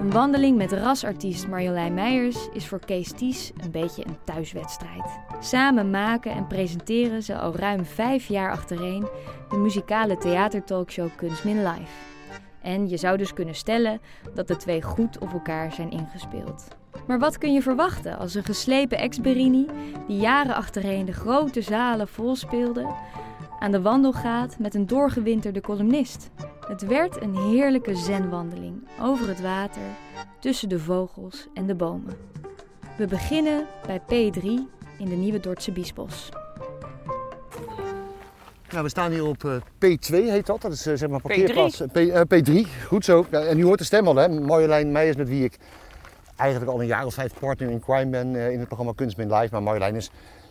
Een wandeling met rasartiest Marjolein Meijers is voor Kees Ties een beetje een thuiswedstrijd. Samen maken en presenteren ze al ruim vijf jaar achtereen de muzikale theatertalkshow Kunst Min Live. En je zou dus kunnen stellen dat de twee goed op elkaar zijn ingespeeld. Maar wat kun je verwachten als een geslepen ex-Berini, die jaren achtereen de grote zalen vol speelde, aan de wandel gaat met een doorgewinterde columnist? Het werd een heerlijke zenwandeling over het water, tussen de vogels en de bomen. We beginnen bij P3 in de Nieuwe Dordtse Biesbos. Nou, we staan hier op eh, P2 heet dat. Dat is eh, zeg maar parkeerplaats. P, eh, P3, goed zo. Ja, en u hoort de stem al, hè? Marjolein Meijers, met wie ik eigenlijk al een jaar of vijf partner in crime ben eh, in het programma Kunstmin Live. Maar Marjolein is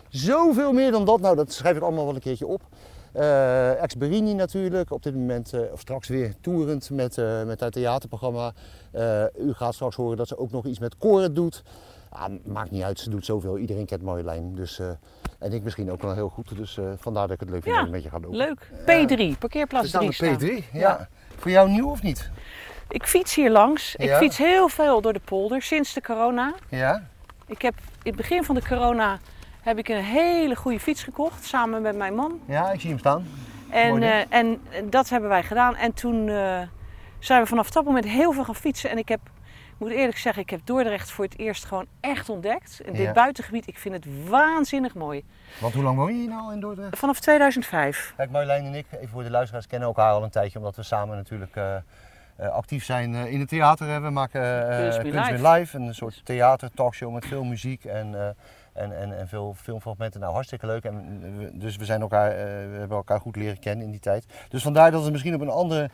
zoveel meer dan dat. Nou, dat schrijf ik allemaal wel een keertje op. Eh Ex-Berini natuurlijk, op dit moment, eh, of straks weer toerend met, eh, met haar theaterprogramma. Eh, u gaat straks horen dat ze ook nog iets met koren doet. Ah, maakt niet uit, ze doet zoveel. Iedereen kent Marjolein. Dus, eh, en ik misschien ook wel heel goed. Dus eh, vandaar dat ik het leuk vind Ja, om een beetje gaan lopen. Leuk. P3, parkeerplaats We staan 3 op P3, ja. Ja. Voor jou nieuw of niet? Ik fiets hier langs. Ik Ja. fiets heel veel door de polder sinds de corona. Ja. Ik heb in het begin van de corona heb ik een hele goede fiets gekocht samen met mijn man. Ja, ik zie hem staan. En, Mooi, hè? eh, en dat hebben wij gedaan. En toen eh, zijn we vanaf dat moment heel veel gaan fietsen. En ik heb, ik moet eerlijk zeggen, ik heb Dordrecht voor het eerst gewoon echt ontdekt. En dit Ja. buitengebied, ik vind het waanzinnig mooi. Want hoe lang woon je hier nou in Dordrecht? Vanaf 2005. Kijk, Marjolein en ik, even voor de luisteraars, kennen elkaar al een tijdje. Omdat we samen natuurlijk eh, eh, actief zijn eh, in het theater. Hè. We maken eh, Kunst eh, Weer Kunst Live. Weer Live. Een soort theater talkshow met veel muziek en, eh, en, en, en veel filmfragmenten. Nou, hartstikke leuk. En, we- dus we, zijn elkaar, eh, we hebben elkaar goed leren kennen in die tijd. Dus vandaar dat we misschien op een andere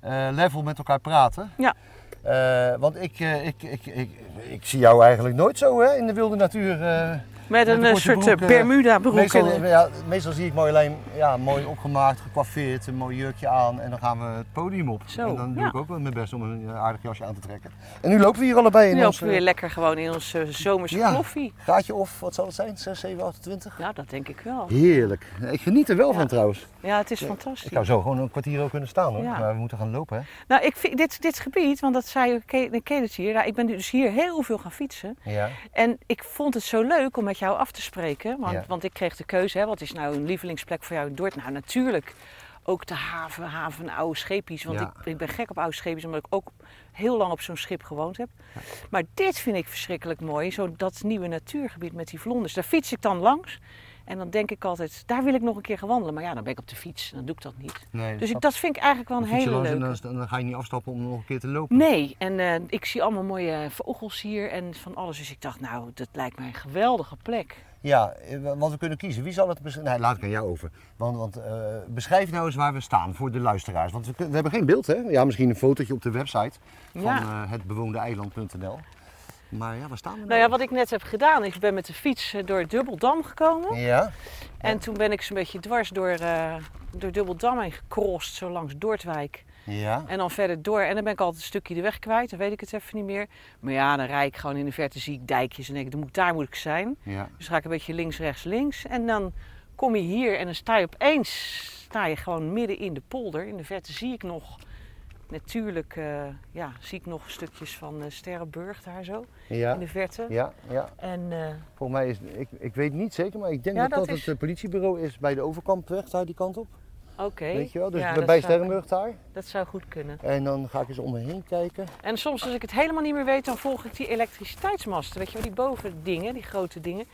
eh, level met elkaar praten. Ja. Eh, want ik, eh, ik, ik, ik, ik zie jou eigenlijk nooit zo hè, in de wilde natuur. eh, Met een, een eh, korte soort broek, eh, eh, Bermuda broek. Meestal, ja, meestal zie ik Marjolein ja, mooi opgemaakt, gecoiffeerd, een mooi jurkje aan en dan gaan we het podium op. Zo, en dan doe ja. ik ook wel mijn best om een eh, aardig jasje aan te trekken. En nu lopen we hier allebei in Nu ons lopen we weer eh, lekker gewoon in onze zomerse Ja. koffie. gaatje of wat zal het zijn, 6, 7, 28? Nou, dat denk ik wel. Heerlijk. Ik geniet er wel van trouwens. Ja, het is Ik fantastisch. zou zo gewoon een kwartier ook kunnen staan hoor, Ja. maar we moeten gaan lopen hè. Nou, ik vind dit, dit gebied, want dat zei Ke- Ken het hier. Nou, ik ben dus hier heel veel gaan fietsen. Ja. En ik vond het zo leuk om met jou af te spreken. Want, Ja. want ik kreeg de keuze, hè, wat is nou een lievelingsplek voor jou in Dordt? Nou, natuurlijk ook de haven, haven Oude Scheepjes. Want Ja. ik, ik ben gek op Oude Scheepjes, omdat ik ook heel lang op zo'n schip gewoond heb. Maar dit vind ik verschrikkelijk mooi, zo dat nieuwe natuurgebied met die vlonders. Daar fiets ik dan langs. En dan denk ik altijd, daar wil ik nog een keer gaan wandelen. Maar ja, dan ben ik op de fiets, dan doe ik dat niet. Nee, Dus ik, snap dat vind ik eigenlijk wel Dan een fiets je hele langs en leuke. dan, dan ga je niet afstappen om nog een keer te lopen. Nee, en eh, ik zie allemaal mooie eh, vogels hier en van alles. Dus ik dacht, nou, dat lijkt mij een geweldige plek. Ja, eh, want we kunnen kiezen. Wie zal het beschrijven? Nee, laat ik aan jou over. Want, want eh, beschrijf nou eens waar we staan voor de luisteraars. Want we, kun- we hebben geen beeld, hè? Ja, misschien een fotootje op de website van Ja. eh, hetbewoondeeiland.nl. Maar ja, waar staan we Nou ja, wat ik net heb gedaan, ik ben met de fiets eh, door Dubbeldam gekomen. nou? Ja, En toen ben ik zo'n beetje dwars door, eh, door Dubbeldam heen gecrossed, zo langs Dordwijk. ja. En dan verder door. En dan ben ik altijd een stukje de weg kwijt, dan weet ik het even niet meer. Maar ja, dan rijd ik gewoon in de verte, zie ik dijkjes en denk ik, "Dan moet- daar moet ik zijn. ja. Dus ga ik een beetje links, rechts, links. En dan kom je hier en dan sta je opeens sta je gewoon midden in de polder. In de verte zie ik nog, natuurlijk eh, ja, zie ik nog stukjes van eh, Sterrenburg daar zo. Ja, In de verte. ja, ja. En eh, Volgens mij is, ik, ik weet niet zeker, maar ik denk Ja, dat dat dat, is- het eh, politiebureau is bij de overkampweg, daar die kant op. oké. Weet je wel, dus Ja, bij dat bij zou- Sterrenburg daar. Dat zou goed kunnen. En dan ga ik eens om me heen kijken. En soms als ik het helemaal niet meer weet, dan volg ik die elektriciteitsmasten. Weet je wel, die bovendingen, die grote dingen.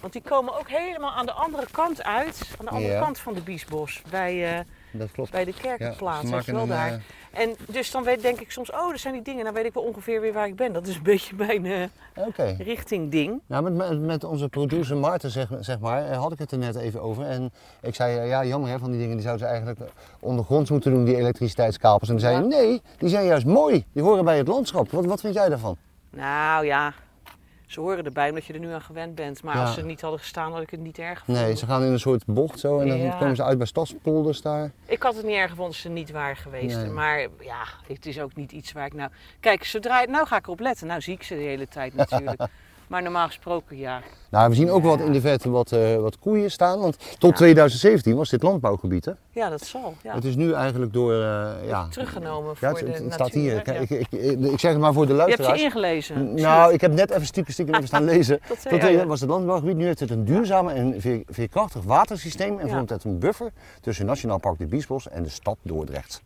Want die komen ook helemaal aan de andere kant uit. Aan de andere Ja. kant van de Biesbos. Bij, eh, Dat klopt. bij de Ja, ze kerkenplaats, weet je maken wel een, daar. eh, En dus dan weet, denk ik soms, oh, dat zijn die dingen. Dan weet ik wel ongeveer weer waar ik ben. Dat is een beetje mijn eh, Oké. richting ding. Ja, met- met, met onze producer Maarten, zeg, zeg maar, eh, had ik het er net even over. En ik zei, eh, ja, jammer hè, van die dingen, die zouden ze eigenlijk ondergronds moeten doen, die elektriciteitskabels. En toen zei je, nee, die zijn juist mooi. Die horen bij het landschap. Wat, wat vind jij daarvan? Nou ja, ze horen erbij omdat je er nu aan gewend bent. Maar Ja. als ze niet hadden gestaan, had ik het niet erg gevonden. Nee, ze gaan in een soort bocht zo en dan Ja. komen ze uit bij stadspolders daar. Ik had het niet erg gevonden als ze niet waren geweest. Nee. Maar ja, het is ook niet iets waar ik nou... Kijk, zodra... Nou ga ik erop letten. Nou zie ik ze de hele tijd natuurlijk. Maar normaal gesproken ja. Nou, we zien ook wat in de verte wat, eh, wat koeien staan. Want tot 2017 was dit landbouwgebied. Hè? Ja, dat zal. Ja. Het is nu eigenlijk door. eh, ja, Teruggenomen voor ja, het, de het natuur. staat hier. hè? Ja. Kijk, ik, ik, ik zeg het maar voor de Je hebt ze luisteraars. ingelezen. Nou, ik heb net even stiekem stiekem even staan lezen. Dat zei Tot jij, eh, ja. was het landbouwgebied. Nu heeft het een duurzame en veer- veerkrachtig watersysteem. En Ja. vormt het een buffer tussen Nationaal Park de Biesbos en de stad Dordrecht.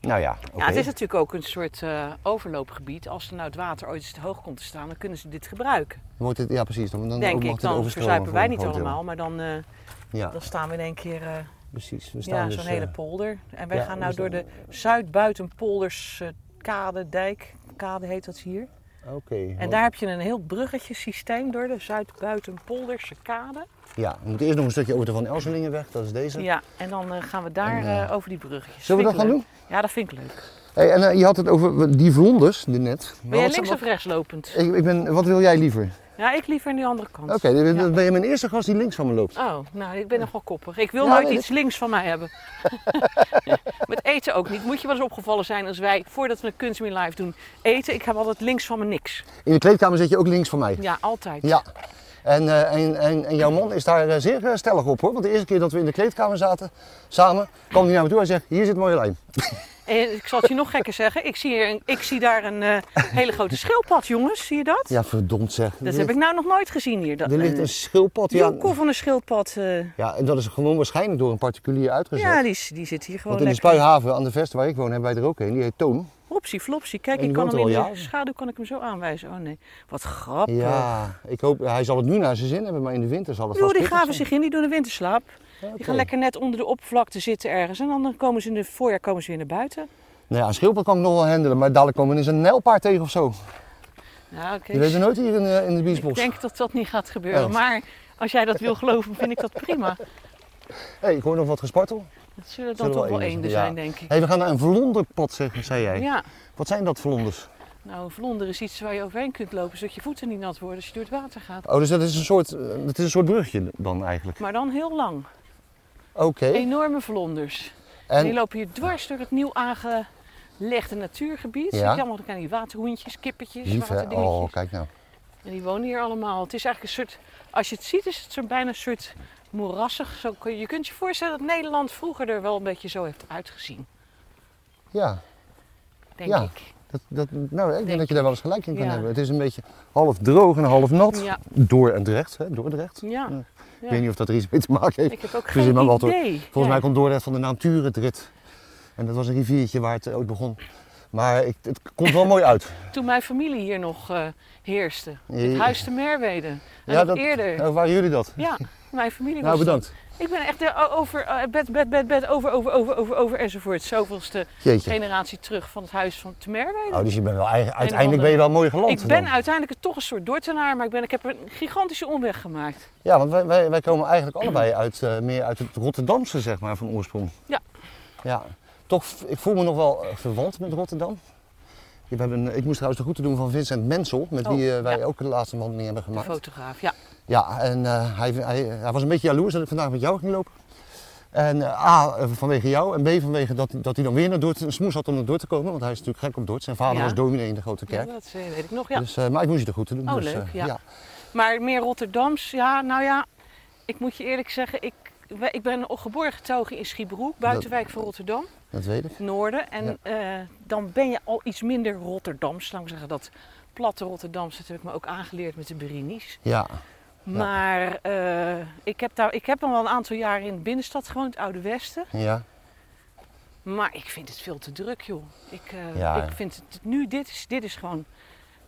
Nou ja, oké. Ja, het is natuurlijk ook een soort eh, overloopgebied. Als er nou het water ooit eens te hoog komt te staan, dan kunnen ze dit gebruiken. Dan wordt het, ja, precies. Dan, dan Denk mag ik, het dan overstromen verzuipen voor wij een niet groot deel. allemaal, maar dan, eh, Ja, dan staan we in één keer eh, precies. We staan ja, dus, zo'n hele eh, polder. En wij ja, gaan nou dus door de dan- Zuidbuitenpolderskade, kade, dijk, kade heet dat hier. Oké. En want- daar heb je een heel bruggetjesysteem door de Zuidbuitenpolderse kade. Ja, we moeten eerst nog een stukje over de Van Elselingenweg. Dat is deze. Ja, en dan eh, gaan we daar En, eh, eh, over die bruggetjes. zullen we Vind dat ik gaan leuk. Ja, dat vind ik leuk. Hey, en eh, je had het over die vlonders net. Ben jij Nou, Wat- links wat- of rechts lopend? Ik, ik ben, wat wil jij liever? Ja, ik liever aan die andere kant. Oké, dan dan ben je mijn eerste gast die links van me loopt. Oh, nou, ik ben nogal koppig. Ik wil Ja, nooit weet iets links van mij hebben. Met eten ook niet. Moet je wel eens opgevallen zijn als wij, voordat we een Kunst Me Live doen, eten. Ik heb altijd links van me niks. In de kleedkamer zit je ook links van mij. Ja, altijd. Ja. En, eh, en, en, en jouw man is daar eh, zeer eh, stellig op hoor. Want de eerste keer dat we in de kleedkamer zaten, samen, kwam hij naar me toe en zegt, hier zit mooie lijn. En ik zal het je nog gekker zeggen. Ik zie, hier een- ik zie daar een eh, hele grote schildpad, jongens. Zie je dat? Ja, verdomd zeg. Dat heb ik nou nog nooit gezien hier. Dat, Er ligt een schildpad. Ja, joekel van een schildpad. eh, ja, en dat is gewoon waarschijnlijk door een particulier uitgezet. ja, die, is- die zit hier gewoon want in de lekker. Spuihaven aan de Vest waar ik woon, hebben wij er ook een. Die heet Toon. Hopsie flopsie. Kijk, En ik die kan woont hem in er de al jaren. schaduw kan ik hem zo aanwijzen. Oh nee, wat grappig. Ja, ik hoop, hij zal het nu naar zijn zin hebben, maar in de winter zal het Joh, vast die pittig graven zijn. zich in, die doen de winterslaap. Ja, Die oké. gaan lekker net onder de oppervlakte zitten ergens. En dan komen ze in het voorjaar komen ze weer naar buiten. Nou ja, een schildpad kan ik nog wel handelen, maar dadelijk komen we eens een nijlpaard tegen of zo. Ja, oké. Je weet het nooit hier in, eh, in de Ik biesbos. denk dat dat niet gaat gebeuren. Oh. Maar als jij dat wil geloven, vind ik dat prima. hey, ik hoor nog wat gespartel. Dat zullen dan Zullen toch wel wel eenden eenden zijn, zijn, denk ik. hey, we gaan naar een vlonderpad, zeg- zei jij. Ja, Wat zijn dat vlonders? nou een vlonder is iets waar je overheen kunt lopen, zodat je voeten niet nat worden als je door het water gaat. Oh, dus dat is een soort, eh, dat is een soort brugje dan eigenlijk. Maar dan heel lang. Oké. Enorme vlonders. En die En, lopen hier dwars door het nieuw aangelegde natuurgebied. Ja. Ja. allemaal aan die waterhoentjes, kippetjes, lief hè? waterdingetjes. Oh, kijk nou. En die wonen hier allemaal. Het is eigenlijk een soort, als je het ziet, is het zo bijna een soort moerassig. Zo kun je, je kunt je voorstellen dat Nederland vroeger er wel een beetje zo heeft uitgezien, Ja, denk Ja. ik. dat, dat, nou, ik denk, Denk dat je daar wel eens gelijk in kan Ja. hebben. Het is een beetje half droog en half nat. Ja. Door en recht, hè? Dordrecht. Ja. Ja. Ik ja. weet niet of dat er iets mee te maken heeft. Ik heb ook Verzin geen maar wat, hoor. idee. Volgens mij Nee. komt Dordrecht van de Natuurendrit. En dat was een riviertje waar het eh, ooit begon. Maar ik, het komt wel mooi uit. Toen mijn familie hier nog eh, heerste. Ja. Het huis te Merwede. En nog eerder. Oh, waren jullie dat? Ja, mijn familie nou, was dat. bedankt. Ik ben echt eh, over, eh, bed, bed, bed, bed, over, over, over, over, over enzovoort. Zoveelste Jeetje. generatie terug van het huis van te Merwede. Oh, dus je bent wel eigen, uiteindelijk andere- ben je wel mooi geland. Ik ben dan. uiteindelijk toch een soort dortenaar, maar ik, ben, ik heb een gigantische omweg gemaakt. Ja, want wij, wij, wij komen eigenlijk allebei uit, eh, meer uit het Rotterdamse, zeg maar, van oorsprong. Ja. Ja. Toch, v- ik voel me nog wel eh, verwant met Rotterdam. Ik, heb een, ik moest trouwens de groeten doen van Vincent Mensel, met Oh, wie eh, wij ja. ook de laatste man mee hebben De gemaakt. fotograaf, ja. Ja, en eh, hij, hij, hij was een beetje jaloers dat ik vandaag met jou ging lopen. En eh, A, eh, vanwege jou en B, vanwege dat, dat hij dan weer naar Dordt, een smoes had om naar Dordt te komen. Want hij is natuurlijk gek op Dordt. Zijn vader Ja. was dominee in de grote kerk. Ja, dat eh, weet ik nog, ja. Dus, eh, maar ik moest je de groeten doen. Oh, dus, leuk, eh, ja. Maar meer Rotterdams, ja, nou ja, ik moet je eerlijk zeggen, ik, we- ik ben geboren getogen in Schiebroek, buitenwijk van Rotterdam, dat weet ik. noorden. En eh, dan ben je al iets minder Rotterdams, laten we zeggen dat platte Rotterdams, dat heb ik me ook aangeleerd met de Berinis. Ja, Maar eh, ik, heb daar, ik heb al wel een aantal jaren in de binnenstad gewoond, het Oude Westen. ja. Maar ik vind het veel te druk, joh. Ik, eh, Ja. ik vind het nu, dit is, dit is gewoon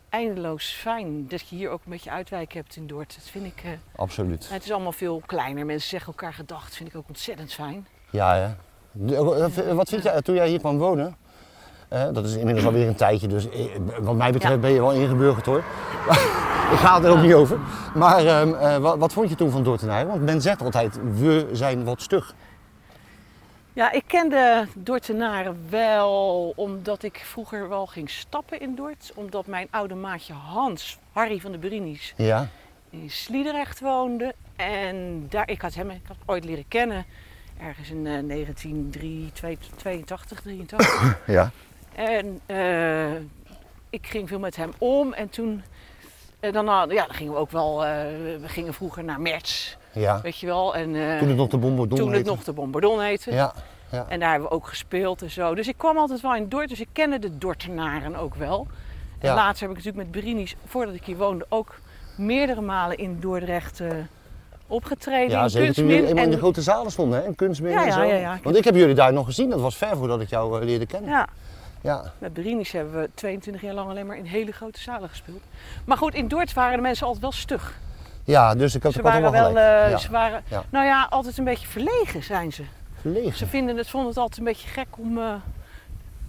eindeloos fijn. Dat je hier ook een beetje uitwijk hebt in Dordt. Dat vind ik, eh, absoluut. het is allemaal veel kleiner. Mensen zeggen elkaar gedacht. Dat vind ik ook ontzettend fijn. Ja, ja. Eh, Wat vind jij, toen jij hier kwam wonen, eh, dat is inmiddels alweer een tijdje, dus eh, wat mij betreft Ja. ben je wel ingeburgerd hoor. ik ga het er ook niet over. Maar ehm, eh, wat, wat vond je toen van Dordtenaar? Want men zegt altijd, we zijn wat stug. Ja, ik kende Dortenaren wel omdat ik vroeger wel ging stappen in Dort. Omdat mijn oude maatje Hans, Harry van de Berinis, Ja, in Sliedrecht woonde. En daar, ik had hem ik had hem ooit leren kennen. Ergens in eh, 1982, 83. ja. En eh, ik ging veel met hem om en toen En dan, ah, ja, dan gingen we ook wel, eh, we gingen vroeger naar Merts, Ja. weet je wel. En, eh, Toen het nog de Bombardon toen het heette. nog de Bombardon heette. Ja, ja. En daar hebben we ook gespeeld en zo. Dus ik kwam altijd wel in Dort, dus ik kende de Dortenaren ook wel. En Ja. laatst heb ik natuurlijk met Berini's, voordat ik hier woonde, ook meerdere malen in Dordrecht eh, opgetreden. ja, in zeker toen Kunstmin jullie eenmaal in de en- grote zalen stonden, hè? In kunstmin Ja, en ja, zo. ja, ja. Want ik heb jullie daar nog gezien, dat was ver voordat ik jou eh, leerde kennen. Ja, Ja. met Berini's hebben we 22 jaar lang alleen maar in hele grote zalen gespeeld. Maar goed, in Dort waren de mensen altijd wel stug. Ja, dus ik had Ze ik had waren helemaal wel, gelijk. eh, ja. ze waren, Ja. nou ja, altijd een beetje verlegen zijn ze. Verlegen. Ze vinden het, vonden het altijd een beetje gek om. eh,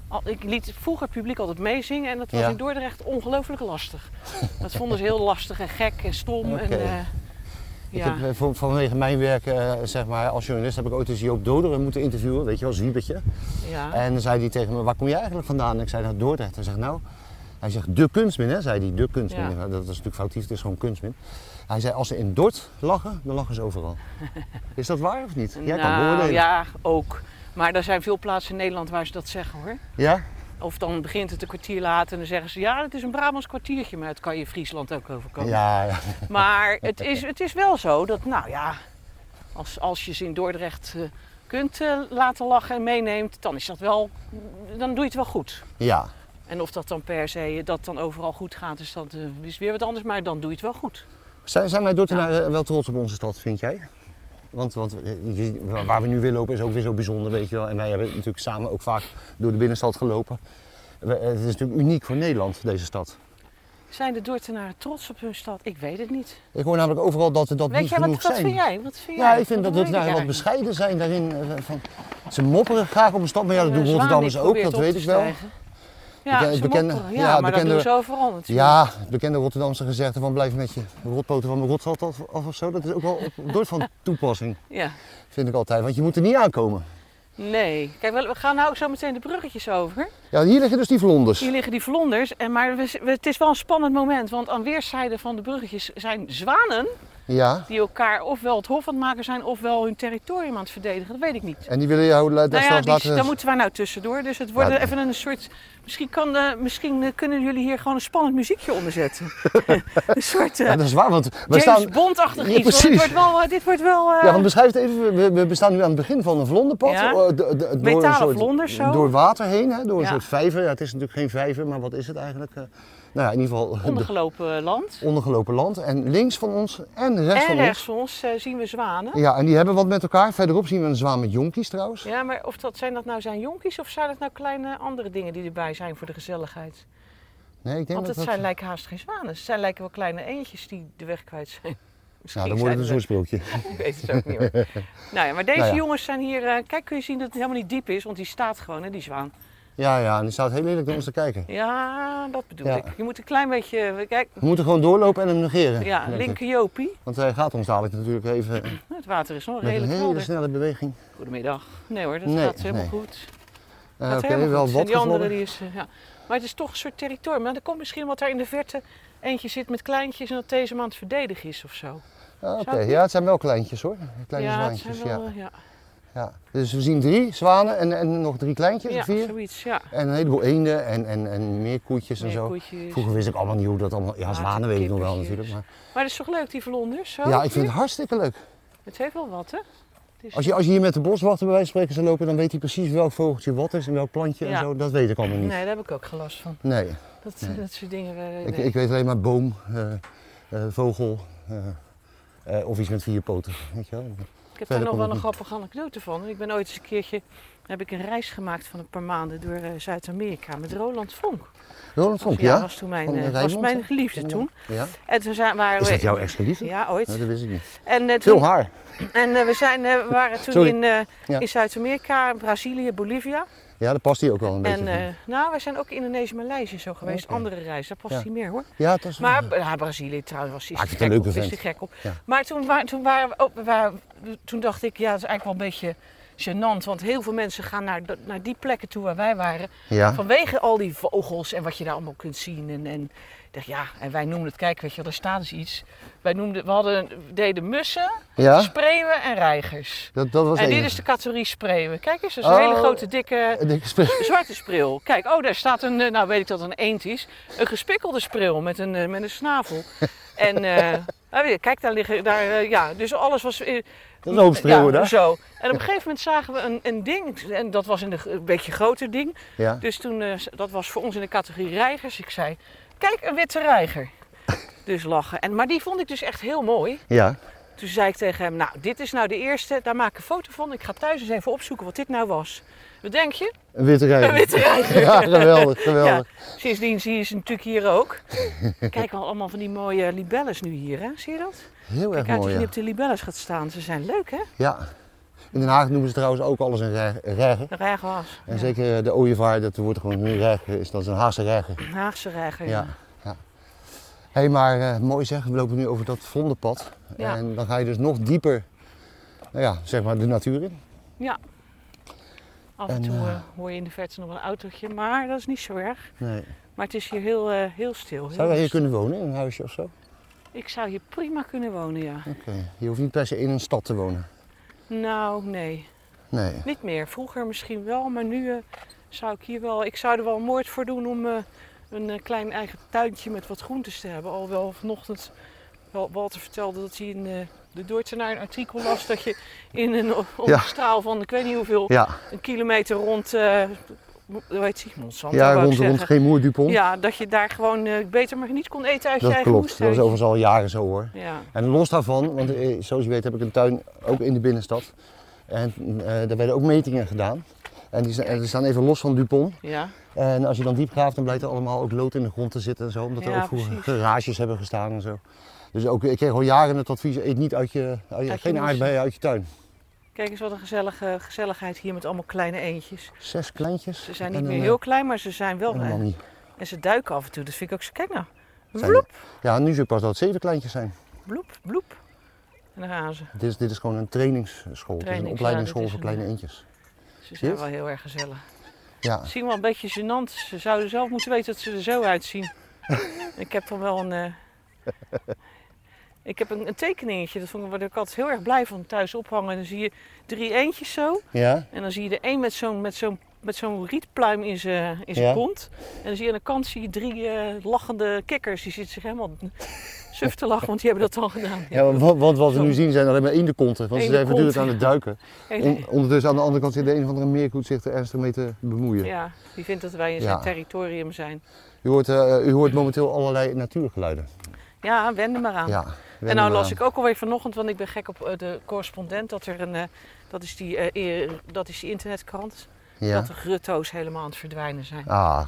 al- ik liet vroeger het publiek altijd meezingen en dat was Ja. in Dordrecht ongelooflijk lastig. Dat vonden ze heel lastig en gek en stom. En, Oké. eh, Ik ja. heb, eh, voor- vanwege mijn werk eh, zeg maar, als journalist heb ik ooit eens Joop Doderen moeten interviewen, weet je wel, Zwiebertje. ja. En dan zei hij tegen me, waar kom je eigenlijk vandaan? En ik zei, nou Dordrecht. Hij zegt, nou, hij zegt, de kunstmin, hè, zei hij, de kunstmin. Ja. Nou, Dat is natuurlijk foutief, het is gewoon kunstmin. Hij zei, als ze in Dort lachen, dan lachen ze overal. is dat waar of niet? Jij kan Nou, beoordelen. ja, ook. Maar er zijn veel plaatsen in Nederland waar ze dat zeggen hoor. Ja? Of dan begint het een kwartier later en dan zeggen ze: Ja, het is een Brabants kwartiertje, maar het kan je in Friesland ook overkomen. Ja, ja. Maar het is, het is wel zo dat, nou ja, als, als je ze in Dordrecht eh, kunt eh, laten lachen en meeneemt, dan is dat wel, dan doe je het wel goed. ja. En of dat dan per se, eh, dat dan overal goed gaat, is dat eh, is weer wat anders, maar dan doe je het wel goed. Zijn, zijn wij Dordtenaren nou, eh, wel trots op onze stad, vind jij? Want, want eh, je- waar we nu weer lopen is ook weer zo bijzonder, weet je wel. En wij hebben natuurlijk samen ook vaak door de binnenstad gelopen. We- eh, Het is natuurlijk uniek voor Nederland, deze stad. Zijn de Dordtenaren trots op hun stad? Ik weet het niet. Ik hoor namelijk overal dat we dat Weet niet jij, genoeg wat, wat zijn. vind jij? Wat vind Ja, jij? ik vind dat weet we daar ik wat eigenlijk bescheiden zijn daarin. eh, Van, ze mopperen graag op een stad, maar ja, dat niet. doen Eh, Rotterdammers Zwaan, die ook, dat probeert weet ik op te wel. stijgen. Ja, Beke- ze bekende- mopperen. ja, ja, maar dat bekende- doen ze overal natuurlijk. Ja, het bekende Rotterdamse gezegde van blijf met je rotpoten van mijn rotstad af, af of zo. Dat is ook wel op Dordt van toepassing, Ja. vind ik altijd. Want je moet er niet aankomen. Nee. Kijk, we we gaan nou ook zo meteen de bruggetjes over. Ja, hier liggen dus die vlonders. Hier liggen die vlonders, en maar we- we- het is wel een spannend moment, want aan weerszijden van de bruggetjes zijn zwanen Ja, die elkaar ofwel het hof aan het maken zijn ofwel hun territorium aan het verdedigen. Dat weet ik niet. en die willen jou la- daar Nou ja, straks die, laten... daar moeten wij nou tussendoor, dus het wordt Ja, even een soort... Misschien, kan, eh, misschien eh, kunnen jullie hier gewoon een spannend muziekje onder zetten. een soort eh, Ja, dat is waar, want we James staan... Bond-achtig Ja, iets. want precies. Dit wordt wel... eh, dit wordt wel eh, Ja, want beschrijf het even. We, we- we staan nu aan het begin van een vlonderpad. Ja. eh, d- d- door een Metalen soort- vlonders zo. Door water heen, hè, door een Ja. soort vijver. Ja, het is natuurlijk geen vijver, maar wat is het eigenlijk? Eh, nou ja, in ieder geval de- ondergelopen land. ondergelopen land. En links van ons en rechts En van rechts van ons eh, zien we zwanen. ons. Ja, en die hebben wat met elkaar. Verderop zien we een zwaan met jonkies trouwens. Ja, maar of dat, zijn dat nou zijn jonkies of zijn dat nou kleine andere dingen die erbij zijn voor de gezelligheid? Nee, ik denk Want dat het dat... zijn lijken haast geen zwanen. Ze zijn lijken wel kleine eentjes die de weg kwijt zijn. Misschien nou, dan wordt het een zijn soort sprookje. ze- Ik weet het ook niet meer. nou ja, maar deze Nou ja. jongens zijn hier... eh, kijk, kun je zien dat het helemaal niet diep is, want die staat gewoon, hè, die zwaan. Ja, ja, en die staat heel lelijk naar ons te kijken. Ja, dat bedoel Ja. ik. Je moet een klein beetje... eh, Kijk, We moeten gewoon doorlopen en hem negeren. ja, denk ik. linker Jopie. Want hij gaat ons dadelijk natuurlijk even met Het water is nog een hele redelijk helder. snelle beweging. Goedemiddag. Nee hoor, dat Nee, gaat helemaal nee. goed. Eh, Dat Oké, helemaal wel goed. wat En die andere gevlodder. die is, eh, ja. Maar het is toch een soort territorium. Maar er komt misschien wat daar in de verte eentje zit met kleintjes en dat deze man aan het verdedigen is of zo. Ah, Oké, Zou ik- ja, het zijn wel kleintjes hoor. Kleine ja, het zwaantjes. zijn wel, Ja. eh, ja. Ja. Dus we zien drie zwanen en, en nog drie kleintjes, Ja, vier. zoiets, ja. En een heleboel eenden en, en, en meer koetjes en Meer zo. koetjes. Vroeger wist ik allemaal niet hoe dat allemaal. Ja, Water, zwanen weet ik nog wel kippertjes. natuurlijk. Maar, Maar het is toch leuk, die vlonders? Zo, ja, ik hier? vind het hartstikke leuk. Het heeft wel wat, hè? Het is- Als je, als je hier met de boswachter bij wijze van spreken zou lopen, dan weet hij precies welk vogeltje wat is en welk plantje Ja. en zo. Dat weet ik allemaal niet. Nee, daar heb ik ook gelast van. Nee. Dat, dat soort dingen... eh, Ik, nee. ik weet alleen maar boom, eh, eh, vogel eh, eh, of iets met vier poten. Weet je wel? Verder Ik heb daar nog kom wel ik een niet. grappige anekdote van. Ik ben ooit eens een keertje... heb ik een reis gemaakt van een paar maanden door eh, Zuid-Amerika met Roland Vonk. Roland Vonk, ja, ja? was toen mijn, Van eh, was Rijnmond, mijn hè? geliefde toen. ja. En toen zijn, waren Is we... dat jouw ex geliefde? Ja, ooit. Nee, dat wist ik niet. En, eh, Veel toen, haar. en eh, we, zijn, eh, we waren toen Sorry. in, eh, Ja. in Zuid-Amerika, Brazilië, Bolivia. Ja, daar past hij ook wel een En beetje. eh, nou, we zijn ook Indonesië, Maleisië zo geweest. Oké. Andere reizen, daar past Ja. hij meer hoor. ja, dat is wel- Maar ja, Brazilië trouwens was is Ah, ik te vind het gek een op. leuke Is te vent. gek op. Ja. Maar toen, wa- toen, waren we, ook- we waren- toen dacht ik, ja, dat is eigenlijk wel een beetje gênant, want heel veel mensen gaan naar, d- naar die plekken toe waar wij waren. Ja. Vanwege al die vogels en wat je daar allemaal kunt zien. En, en, ik dacht, ja, en wij noemden het, kijk, weet je wel, daar staat dus iets. Wij noemden, we hadden, deden mussen, Ja? spreeuwen en reigers. Dat, dat was En één. dit is de categorie spreeuwen. Kijk eens, dat is een Oh. hele grote, dikke, En ik spe- zwarte spreeuw. Kijk, oh, daar staat een, eh, nou weet ik dat het een eend is, een gespikkelde spreeuw met een, eh, met een snavel. En eh, nou, weet je, kijk, daar liggen, daar, eh, ja, dus alles was... eh, Dat is een hoop spreeuwen ja, daar. Zo. En op een gegeven moment zagen we een, een ding, en dat was een, een beetje groter ding. Ja. Dus toen, eh, dat was voor ons in de categorie reigers. Ik zei, kijk, een witte reiger. Dus lachen. En, maar die vond ik dus echt heel mooi. ja. Toen zei ik tegen hem, nou, dit is nou de eerste, daar maak ik een foto van. Ik ga thuis eens even opzoeken wat dit nou was. Wat denk je? Een witte rij. Een witte reiger. Ja, geweldig, Ja, geweldig. sindsdien zie je ze natuurlijk hier ook. Kijk al allemaal van die mooie libelles nu hier, hè? Zie je dat? Heel erg Kijk uit mooi. hoe je Ja. op de libelles gaat staan. Ze zijn leuk, hè? Ja. In Den Haag noemen ze trouwens ook alles een rij- reiger. De reiger was. En zeker eh, de ooievaar, dat wordt gewoon een reiger, is dat is een Haagse reiger. Een Haagse reiger. Ja. ja. Hé, hey, maar eh, mooi zeg, we lopen nu over dat vondenpad. Ja. En dan ga je dus nog dieper, nou ja, zeg maar de natuur in. Ja. Af en, En, toe eh, eh, hoor je in de verte nog wel een autootje, maar dat is niet zo erg. Nee. Maar het is hier heel, eh, heel stil. heel Zou wij hier rustig. kunnen wonen, in een huisje of zo? Oké, Ik zou hier prima kunnen wonen, ja. je hoeft niet per se in een stad te wonen. Nou, nee. Nee. Niet meer. Vroeger misschien wel, maar nu eh, zou ik hier wel... Ik zou er wel een moord voor doen om eh, een eh, klein eigen tuintje met wat groentes te hebben. Alhoewel vanochtend wel Walter vertelde dat hij in eh, de Dordtenaar een artikel las... dat je in een o- op Ja. een straal van ik weet niet hoeveel, Ja, een kilometer rond... eh hoe heet die? Monsanto, ja wou ik rond, rond zeggen. Gemoer Dupont. Ja, dat je daar gewoon eh, beter maar niet kon eten uit je dat eigen klopt. Dat moestuin. is overigens al jaren zo hoor. Ja, En los daarvan, want eh, zoals je weet heb ik een tuin ook in de binnenstad. En eh, daar werden ook metingen gedaan. En die, sta- en die staan even los van Dupont. ja. En als je dan diep graaft, dan blijkt er allemaal ook lood in de grond te zitten en zo. Omdat er Ja, ook vroeger precies. garages hebben gestaan en zo. Dus ook, ik kreeg al jaren het advies, eet niet uit je, uit je- Uit je geen moes. aardbeien uit je tuin. Kijk eens wat een gezellige gezelligheid hier met allemaal kleine eentjes. Zes kleintjes. Ze zijn en niet een, meer eh, heel klein, maar ze zijn wel en een klein. mammie. En ze duiken af en toe, dus vind ik ook ze kijk nou. Zijn- Bloep, Ja, nu zie ik pas dat het zeven kleintjes zijn. bloep, bloep. En daar gaan ze. Dit is, dit is gewoon een trainingsschool. Het is Trainings, een ja, opleidingsschool dit is voor een, eh, kleine eentjes. Ze zijn het? wel heel erg gezellig. Ja, Ze zien wel een beetje gênant. Ze zouden zelf moeten weten dat ze er zo uitzien. ik heb dan wel een... eh, Ik heb een, een tekeningetje, dat vond ik, waar ik altijd heel erg blij van thuis ophangen. En dan zie je drie eentjes zo. ja, En dan zie je de een met zo'n met zo'n met zo'n rietpluim in zijn in zijn Ja. kont. En dan zie je aan de kant zie je drie eh, lachende kikkers. Die zitten zich helemaal suf te lachen, want die hebben dat al gedaan. ja want- want, wat we Zo. nu zien zijn alleen maar eendekonten. Want ze zijn Eendekonten, voortdurend aan het duiken. On- ondertussen aan de andere kant zit de een of andere meerkoet zich er ernstig mee te bemoeien. Ja, die vindt dat wij in zijn Ja. territorium zijn. U, hoort, eh, u hoort momenteel allerlei natuurgeluiden. Ja, wend er maar aan. Ja. eh, en nou las ik ook alweer vanochtend, want ik ben gek op eh, de correspondent, dat er een. eh, dat is, die, eh, eer- dat is die internetkrant. Ja. Dat de grutto's helemaal aan het verdwijnen zijn. Ah,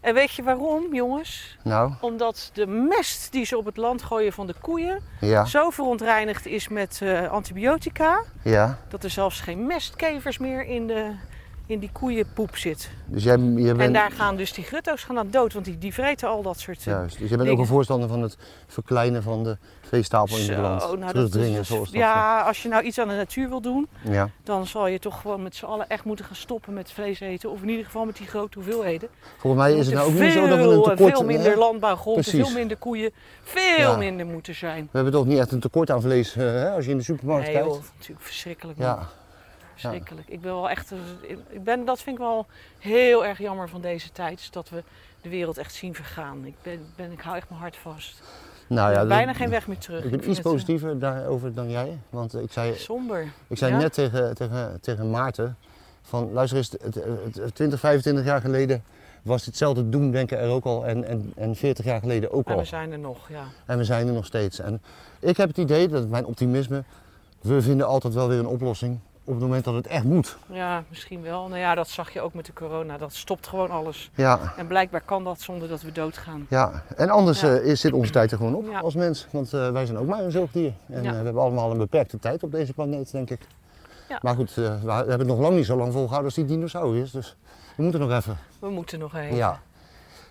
En weet je waarom, jongens? nou, Omdat de mest die ze op het land gooien van de koeien. ja, zo verontreinigd is met eh, antibiotica ja. dat er zelfs geen mestkevers meer in, de, in die koeienpoep zit. Dus jij, jij En bent, daar gaan dus die grutto's gaan aan dood, want die, die vreten al dat soort. eh, juist, dus jij bent ook dingen. een voorstander van het verkleinen van de veestapel in het zo, land. nou, dat- Terugdringen, dat- zoals dat. Ja, als je nou iets aan de natuur wil doen, eh, ja. dan zal je toch gewoon met z'n allen echt moeten gaan stoppen met vlees eten. Of in ieder geval met die grote hoeveelheden. Volgens mij Er is het moeten nou ook niet zo dat we veel, een eh, tekort Veel minder landbouwgrond, Precies. veel minder koeien, veel Ja. minder moeten zijn. We hebben toch niet echt een tekort aan vlees eh, hè, als je in de supermarkt Nee, kijkt? joh, natuurlijk verschrikkelijk. man. Ja, Verschrikkelijk. Ik ben wel echt. Ik ben, dat vind ik wel heel erg jammer van deze tijd. Dat we de wereld echt zien vergaan. Ik, ben, ben, ik hou echt mijn hart vast. nou Er ja. is dat- bijna geen weg meer terug. Ik vind ben iets het, eh, positiever daarover dan jij. Want ik zei, Somber. Ik zei Ja? net tegen, tegen, tegen Maarten, van luister eens, het- het- het- 20, 25 jaar geleden was hetzelfde doemdenken er ook al en, en, en 40 jaar geleden ook Maar al. we zijn er nog, ja. En we zijn er nog steeds. En ik heb het idee, dat is mijn optimisme, we vinden altijd wel weer een oplossing op het moment dat het echt moet. Ja, misschien wel. Nou ja, dat zag je ook met de corona. Dat stopt gewoon alles. Ja, En blijkbaar kan dat zonder dat we doodgaan. ja. en anders Ja. eh, is zit onze tijd er gewoon op Ja. als mens. Want eh, wij zijn ook maar een zoogdier. En Ja. eh, we hebben allemaal een beperkte tijd op deze planeet, denk ik. Ja. Maar goed, eh, we hebben het nog lang niet zo lang volgehouden als die dinosaurus. Dus we moeten nog even. We moeten nog heen. Ja.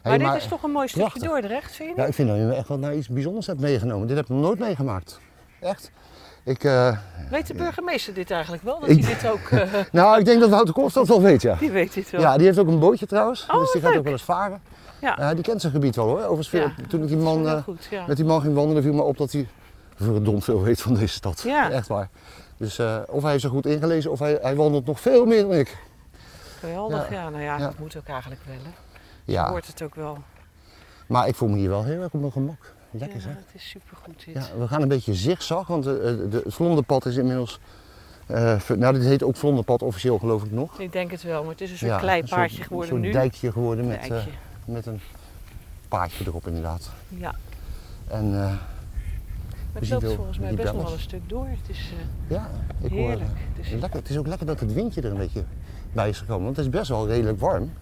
Maar dit is toch een mooi stukje prachtig. Dordrecht, vind je? Ja, niet? ik vind dat je me echt wel naar iets bijzonders hebt meegenomen. Dit heb ik nog nooit meegemaakt. Echt. Ik Ik, eh, Weet de burgemeester dit eigenlijk wel? Dat hij Ik- dit ook... eh, nou, ik denk dat Wouter Koolstad dat wel weet, ja. die weet dit wel. Ja, die heeft ook een bootje trouwens. Oh, dus die wat gaat leuk. ook wel eens varen. Ja. Eh, die kent zijn gebied wel hoor. Overigens, Ja, veel- toen ik die dat is man, wel eh, goed, ja. met die man ging wandelen, viel me op dat hij verdomd veel weet van deze stad. Ja. Echt waar. Dus eh, of hij heeft zich goed ingelezen, of hij, hij wandelt nog veel meer dan ik. Geweldig, ja. Nou ja, Ja. dat moet ook eigenlijk wel. Hè. Ja, Hoort het ook wel. maar ik voel me hier wel heel erg op mijn gemak. Lekker ja, zeg. het is supergoed dit. Ja, we gaan een beetje zigzag, want eh, eh, de- het vlonderpad is inmiddels... eh, ver- nou, dit heet ook vlonderpad officieel geloof ik nog. Ik denk het wel, maar het is een soort Ja, klei soort- paardje geworden Een nu. soort dijkje geworden met, eh, Dijkje. met een paardje erop inderdaad. ja. En eh, Maar ziet het loopt wel volgens mij die best nog wel bellen. een stuk door. Het is, eh, ja, ik hoor... Heerlijk. Dus- eh, Het is- lekker. Het is ook lekker dat het windje er een beetje bij is gekomen, want het is best wel redelijk warm.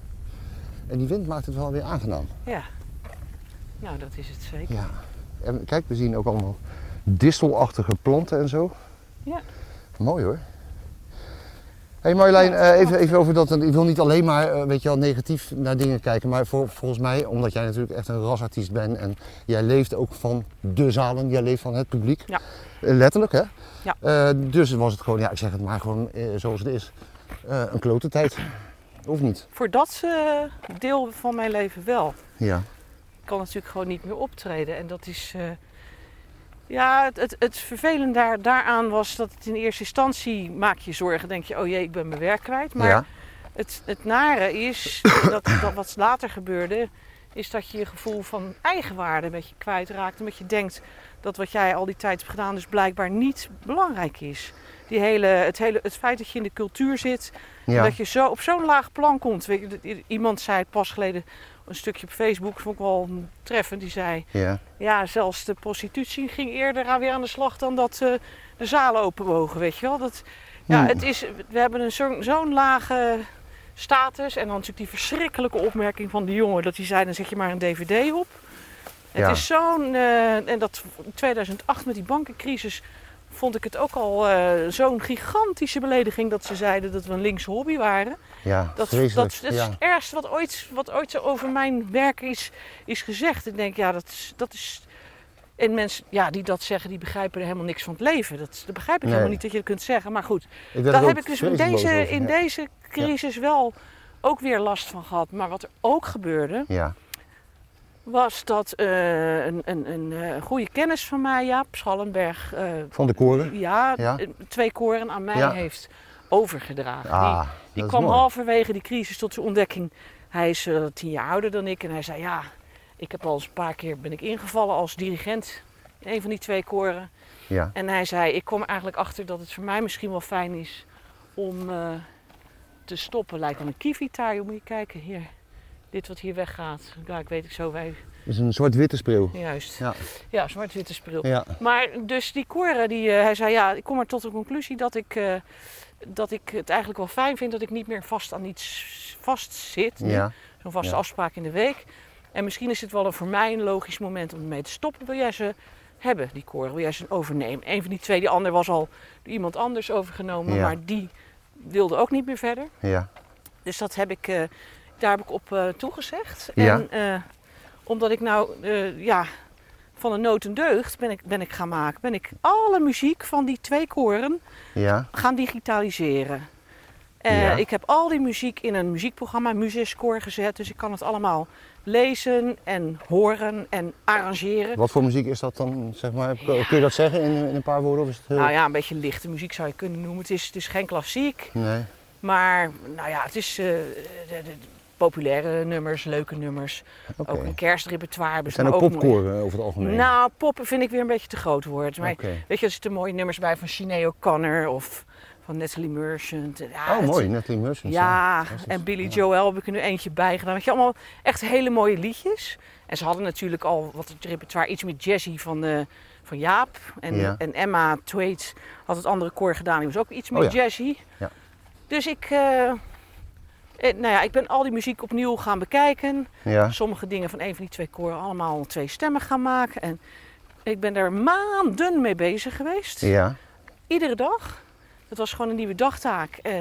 En die wind maakt het wel weer aangenaam. ja. Nou, dat is het zeker. Ja. En kijk, we zien ook allemaal distelachtige planten en zo. Ja. Mooi hoor. Hé hey Marjolein, Ja, eh, even, even over dat. Ik wil niet alleen maar eh, weet je wel, negatief naar dingen kijken. Maar voor, volgens mij, omdat jij natuurlijk echt een rasartiest bent. En jij leeft ook van de zalen. Jij leeft van het publiek. Ja. Eh, letterlijk hè. Ja. Eh, dus was het gewoon, ja ik zeg het maar gewoon eh, zoals het is. eh, een klote tijd. Of niet? Voor dat eh, deel van mijn leven wel. Ja. Ik kan natuurlijk gewoon niet meer optreden. En dat is. eh, ja, het, het, het vervelende daar, daaraan was dat het in eerste instantie maak je zorgen. Denk je, oh jee, ik ben mijn werk kwijt. Maar ja. het, het nare is, dat, dat wat later gebeurde, is dat je je gevoel van eigenwaarde een beetje kwijtraakt. Omdat je denkt dat wat jij al die tijd hebt gedaan, dus blijkbaar niet belangrijk is. Die hele, het, hele, het feit dat je in de cultuur zit, ja. dat je zo op zo'n laag plan komt. Weet je, dat- i- Iemand zei het pas geleden een stukje op Facebook, vond ik wel treffend. Die zei: ja. Ja, zelfs de prostitutie ging eerder aan weer aan de slag dan dat eh, de zalen open mogen. Weet je wel? Dat, ja, Hmm. het is, we hebben een zo'n zo'n lage status. En dan natuurlijk die verschrikkelijke opmerking van die jongen: dat hij zei: Dan zet je maar een DVD op. Ja. Het is zo'n. eh, en dat in 2008 met die bankencrisis vond ik het ook al eh, zo'n gigantische belediging dat ze zeiden dat we een linkse hobby waren. ja. Dat, dat, Vreselijk. dat is ja. het ergste wat ooit, wat ooit zo over mijn werk is, is gezegd. Ik denk, ja, dat is. Dat is en mensen ja, die dat zeggen, die begrijpen er helemaal niks van het leven. Dat, dat begrijp ik Nee. helemaal niet dat je dat kunt zeggen. Maar goed, Ik werd daar er heb ook ik dus in vreselijk boos deze, over, in ja. deze crisis wel ook weer last van gehad. Maar wat er ook gebeurde, Ja. was dat eh, een, een, een eh, goede kennis van mij, Jaap Schallenberg, eh, Van de koren. ja, Ja. eh, twee koren aan mij Ja. heeft overgedragen. Die- Ah, die dat kwam is mooi. halverwege die crisis tot zijn ontdekking. Hij is eh, tien jaar ouder dan ik en hij zei: Ja, ik heb al eens een paar keer ben ik ingevallen als dirigent in een van die twee koren. Ja. En hij zei: Ik kom er eigenlijk achter dat het voor mij misschien wel fijn is om eh, te stoppen. Lijkt wel een kievitaar, joh, moet je kijken hier. Dit wat hier weggaat. Ja, ik weet ik zo wij. Het is een zwart-witte spreeuw. Juist. Ja. Ja, zwart-witte spril. Ja. Maar dus die koren, die, eh, hij zei ja, ik kom er tot de conclusie dat ik, eh, dat ik het eigenlijk wel fijn vind dat ik niet meer vast aan iets vastzit. nu. Ja. Zo'n vaste Ja. afspraak in de week. En misschien is het wel een, voor mij een logisch moment om mee te stoppen. Wil jij ze hebben, die koren? Wil jij ze overnemen? Een van die twee, die ander was al door iemand anders overgenomen, Ja. maar die wilde ook niet meer verder. Ja. Dus dat heb ik, eh, daar heb ik op eh, toegezegd. Ja. En eh, omdat ik nou eh, ja, van een nood een deugd ben ik, ben ik gaan maken. Ben ik alle muziek van die twee koren Ja. gaan digitaliseren. Eh, Ja. Ik heb al die muziek in een muziekprogramma, Musiscore, gezet. Dus ik kan het allemaal lezen en horen en arrangeren. Wat voor muziek is dat dan, zeg maar? Kun kun je dat zeggen in, in een paar woorden? Of is het heel... Nou ja, een beetje lichte muziek zou je kunnen noemen. Het is, het is geen klassiek. Nee. Maar nou ja, het is eh, de- de- populaire nummers, leuke nummers. Oké. Ook een kerstrepertoire. Het dus zijn maar ook mooi- popkoren over het algemeen. Nou, pop vind ik weer een beetje te groot woord. Maar Oké. weet je, er zitten mooie nummers bij van Sinead O'Connor of van Natalie Merchant. Ja, oh, het- mooi. Natalie Merchant. ja, fantastisch. en Billy Ja. Joel heb ik er nu eentje bij gedaan. Weet je, allemaal echt hele mooie liedjes. En ze hadden natuurlijk al wat het repertoire, iets met Jazzy van, eh, van Jaap. En, Ja. en Emma Tweet had het andere koor gedaan, die was ook iets meer Oh ja. Jazzy. Ja. Dus ik, eh, eh, nou ja, ik ben al die muziek opnieuw gaan bekijken. Ja. Sommige dingen van een van die twee koren allemaal twee stemmen gaan maken. En ik ben daar maanden mee bezig geweest Ja. iedere dag. Dat was gewoon een nieuwe dagtaak. Eh,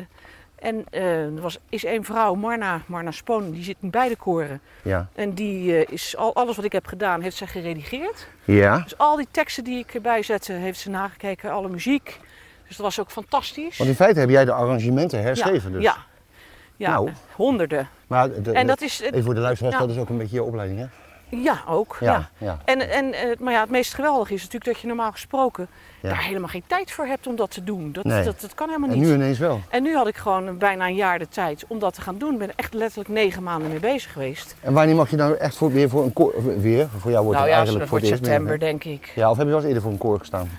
En eh, er was, is één vrouw, Marna, Marna Spoon, die zit in beide koren. Ja. En die eh, is al, alles wat ik heb gedaan, heeft zij geredigeerd. Ja. Dus al die teksten die ik erbij zette, heeft ze nagekeken, alle muziek. Dus dat was ook fantastisch. Want in feite heb jij de arrangementen herschreven ja, dus. Ja, ja Nou. honderden. Maar de- de- En dat is, even voor de luisteraars, Ja. dat is ook een beetje je opleiding hè? ja, ook. Ja. Ja, ja. En, en, eh, maar ja, het meest geweldige is natuurlijk dat je normaal gesproken Ja. daar Nou, helemaal geen tijd voor hebt om dat te doen. Dat, Nee. dat, dat kan helemaal En niet. nu ineens wel. En nu had ik gewoon bijna een jaar de tijd om dat te gaan doen. Ik ben er echt letterlijk negen maanden mee bezig geweest. En wanneer mag je nou echt voor, weer voor een koor, weer, voor jou wordt het nou ja, eigenlijk het voor wordt het eerst meer, hè? september, denk ik. Ja, of heb je wel eens eerder voor een koor gestaan?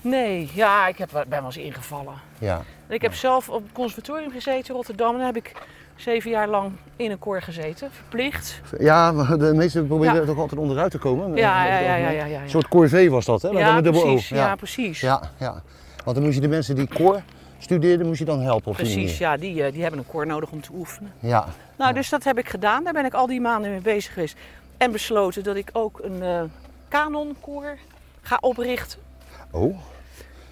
Nee, ja, ik heb, wel- ben wel eens ingevallen. Ja. En Ik heb zelf op het conservatorium gezeten in Rotterdam. En daar heb ik zeven jaar lang in een koor gezeten, verplicht. Ja, maar de meesten proberen Ja. er toch altijd onderuit te komen. Ja, Eh, ja, over het ja, ja, algemeen. ja, ja, ja. Een soort corvée was dat, hè? Maar dan ja, met dubbel O. precies, ja. Ja. precies. Ja, ja. Want dan moest je de mensen die koor studeerden, moest je dan helpen op die Precies, manier. ja, die, eh, die hebben een koor nodig om te oefenen. Ja. Nou, dus dat heb ik gedaan. Daar ben ik al die maanden mee bezig geweest. En besloten dat ik ook een eh, kanonkoor ga oprichten. Oh,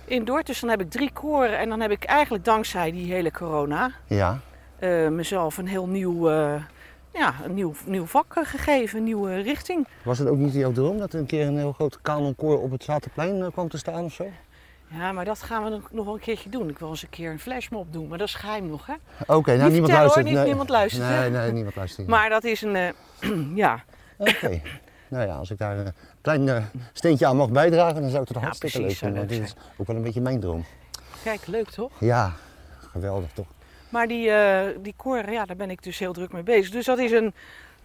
In Dort, dus dan heb ik drie koren. En dan heb ik eigenlijk dankzij die hele corona ja. eh, mezelf een heel nieuw, eh, ja, een nieuw, nieuw vak eh, gegeven, een nieuwe richting. Was het ook niet jouw droom dat er een keer een heel groot kanonkoor op het Zaterplein eh, kwam te staan of zo? Ja, maar dat gaan we nog- nog wel een keertje doen. Ik wil eens een keer een flashmob doen, maar dat is geheim nog, hè? Oké, nou Niet niemand vertellen, hoor, luistert. niet- niemand luistert, hè? Nee, nee, niemand luistert. hier. Maar dat is een, eh, ja, Oké. Nou ja, als ik daar een klein eh, steentje aan mag bijdragen, dan zou ik het hartstikke precies, leuk zou vinden. Want leuk dit is ook wel een beetje mijn droom. kijk, leuk toch? Ja, geweldig toch? Maar die, eh, die koren, ja, daar ben ik dus heel druk mee bezig. Dus dat is een,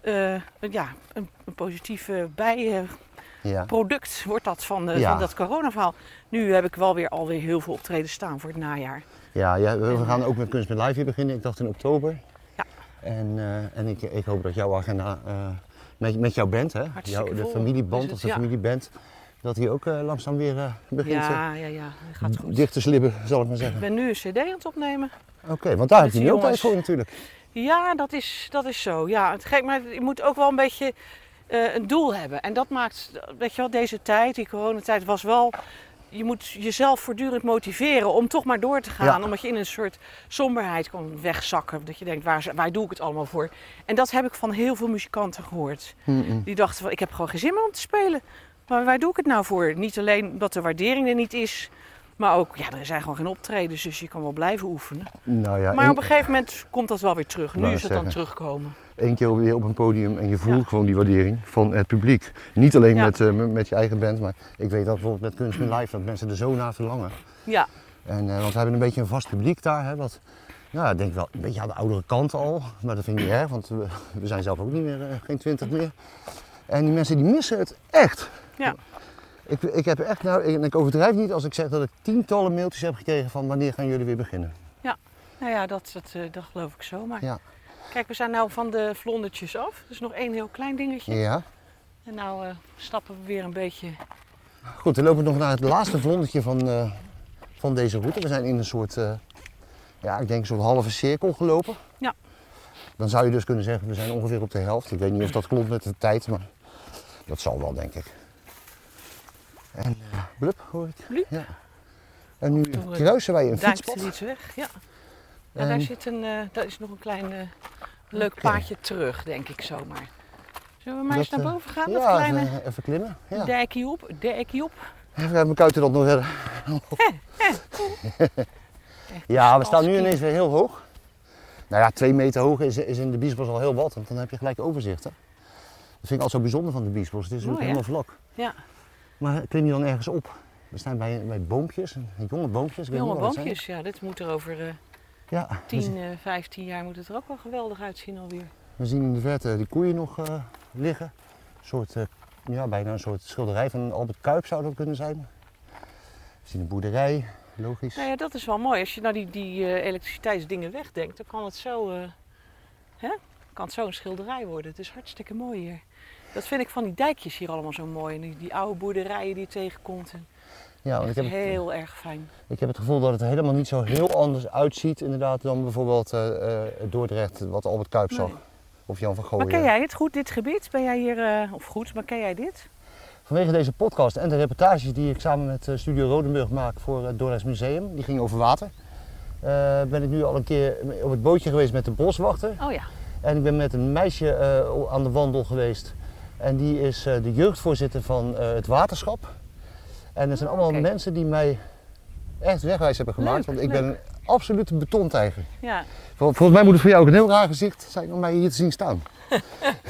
eh, een, ja, een, een positief eh, bijproduct, Ja. wordt dat van, eh, Ja. van dat coronaverhaal. Nu heb ik wel weer alweer heel veel optreden staan voor het najaar. Ja, ja, we we gaan ook met Kunst met Live weer beginnen. Ik dacht in oktober. eh, Ja. En, eh, en ik, ik hoop dat jouw agenda eh, met, met jouw band, hè? Hartstikke Jouw- de vol familieband is het, of de ja. familieband, dat die ook eh, langzaam weer eh, begint Ja, ja, ja, dat gaat eh, goed. dicht te slibben, zal ik maar Ik zeggen. ben nu een cd aan het opnemen. Oké, want daar heb Met je die nu ook tijd jongens. voor natuurlijk. Ja, dat is, dat is zo. Ja, het gek, maar je moet ook wel een beetje eh, een doel hebben. En dat maakt, weet je wel, deze tijd, die coronatijd, was wel... Je moet jezelf voortdurend motiveren om toch maar door te gaan. Ja. Omdat je in een soort somberheid kan wegzakken. Dat je denkt, waar, z- waar doe ik het allemaal voor? En dat heb ik van heel veel muzikanten gehoord. Die dachten van, ik heb gewoon geen zin meer om te spelen. Maar waar doe ik het nou voor? Niet alleen dat de waardering er niet is. Maar ook, ja, er zijn gewoon geen optredens. Dus je kan wel blijven oefenen. Nou ja, Maar één, op een gegeven moment komt dat wel weer terug. Nu Wou is ik het dan zeggen. terugkomen. één keer weer op een podium en je voelt gewoon die waardering van het publiek. Niet alleen Ja. met, eh, met- met je eigen band, maar ik weet dat bijvoorbeeld met Kunst met Live, dat mensen er zo naar verlangen. Ja, En, eh, want we hebben een beetje een vast publiek daar, hè, wat, ja, ik denk wel een beetje aan de oudere kant al. Maar dat vind ik niet erg, want we, we zijn zelf ook niet meer, eh, geen twintig meer. En die mensen die missen het echt. ja. Ik, ik heb echt, nou, ik, en ik overdrijf niet als ik zeg dat ik tientallen mailtjes heb gekregen van wanneer gaan jullie weer beginnen. Nou ja, dat, dat, eh, dat geloof ik zomaar. Ja. Kijk, we zijn nou van de vlondertjes af. Dus nog één heel klein dingetje. Ja. En nou eh, stappen we weer een beetje. Goed, we lopen nog naar het laatste vlondertje van, eh, van deze route. We zijn in een soort, eh, ja, ik denk een soort halve cirkel gelopen. Ja. Dan zou je dus kunnen zeggen, we zijn ongeveer op de helft. Ik weet niet of dat klopt met de tijd, maar dat zal wel, denk ik. En eh, blup, hoor ik. Blup. Ja. En nu hoor ik. kruisen wij een Daar is er fietspad. iets weg. Ja. Ja, En- daar, zit een, eh, daar is nog een klein eh, leuk paadje terug, denk ik zomaar. Zullen we maar eens Dat, naar eh, boven gaan? dat Ja, kleine even, even klimmen. Ja. dijkje op. Dijkje op. Even kijken, mijn kuiten dat nog verder. ja, we staan nu Als ineens weer heel hoog. Nou ja, twee meter hoog is, is in de biesbos al heel wat, want dan heb je gelijk overzicht. Hè? Dat vind ik al zo bijzonder van de biesbos. Het is natuurlijk Mooi, hè? helemaal vlak. Oh, Ja, Maar klim je dan ergens op? We staan bij, bij boompjes, jonge boompjes. ik weet jonge niet wat het boompjes. Ja, dit moet er over eh, zijn. Ja, we, 10, zien, eh 15 jaar moet het er ook wel geweldig uitzien alweer. we zien in de verte die koeien nog eh, liggen. Een soort, eh, ja, bijna een soort schilderij van Albert Kuip zou dat kunnen zijn. We zien een boerderij, logisch. Nou ja, dat is wel mooi. Als je nou die, die eh, elektriciteitsdingen wegdenkt, dan kan het zo, eh, hè? kan het zo een schilderij worden. Het is hartstikke mooi hier. Dat vind ik van die dijkjes hier allemaal zo mooi. En die, die oude boerderijen die je tegenkomt. En ja, want echt ik Oh, heb het- heel erg fijn. Ik heb het gevoel dat het er helemaal niet zo heel anders uitziet inderdaad dan bijvoorbeeld eh, eh, Dordrecht, wat Albert Kuip zag. Nee. Of Jan van Maar Gooien. ken jij het goed, dit gebied? Ben jij hier, eh, of goed, maar ken jij dit? Vanwege deze podcast en de reportages die ik samen met eh, Studio Rodenburg maak voor het Dordrechts Museum, die ging over water. eh, ben ik nu al een keer op het bootje geweest met de boswachter. Oh ja. En ik ben met een meisje eh, aan de wandel geweest. En die is eh, de jeugdvoorzitter van eh, het waterschap. En dat zijn allemaal Oké. mensen die mij echt wegwijs hebben gemaakt. Leuk, want ik leuk. ben een absolute betontijger. ja. Vol- Volgens mij moet het voor jou ook een heel raar gezicht zijn om mij hier te zien staan.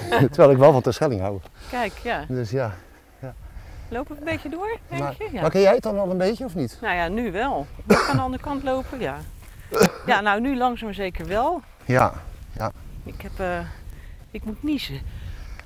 Terwijl ik wel van Terschelling hou. Kijk, ja. Dus ja. Lopen we een beetje door, denk Maar, je? Ja. Nou, maar ken jij het dan al een beetje of niet? Nou ja, nu wel. Moet ik aan de andere kant lopen? Ja. Ja, nou nu langzaam maar zeker wel. Ja. Ik heb... eh, ik moet niezen.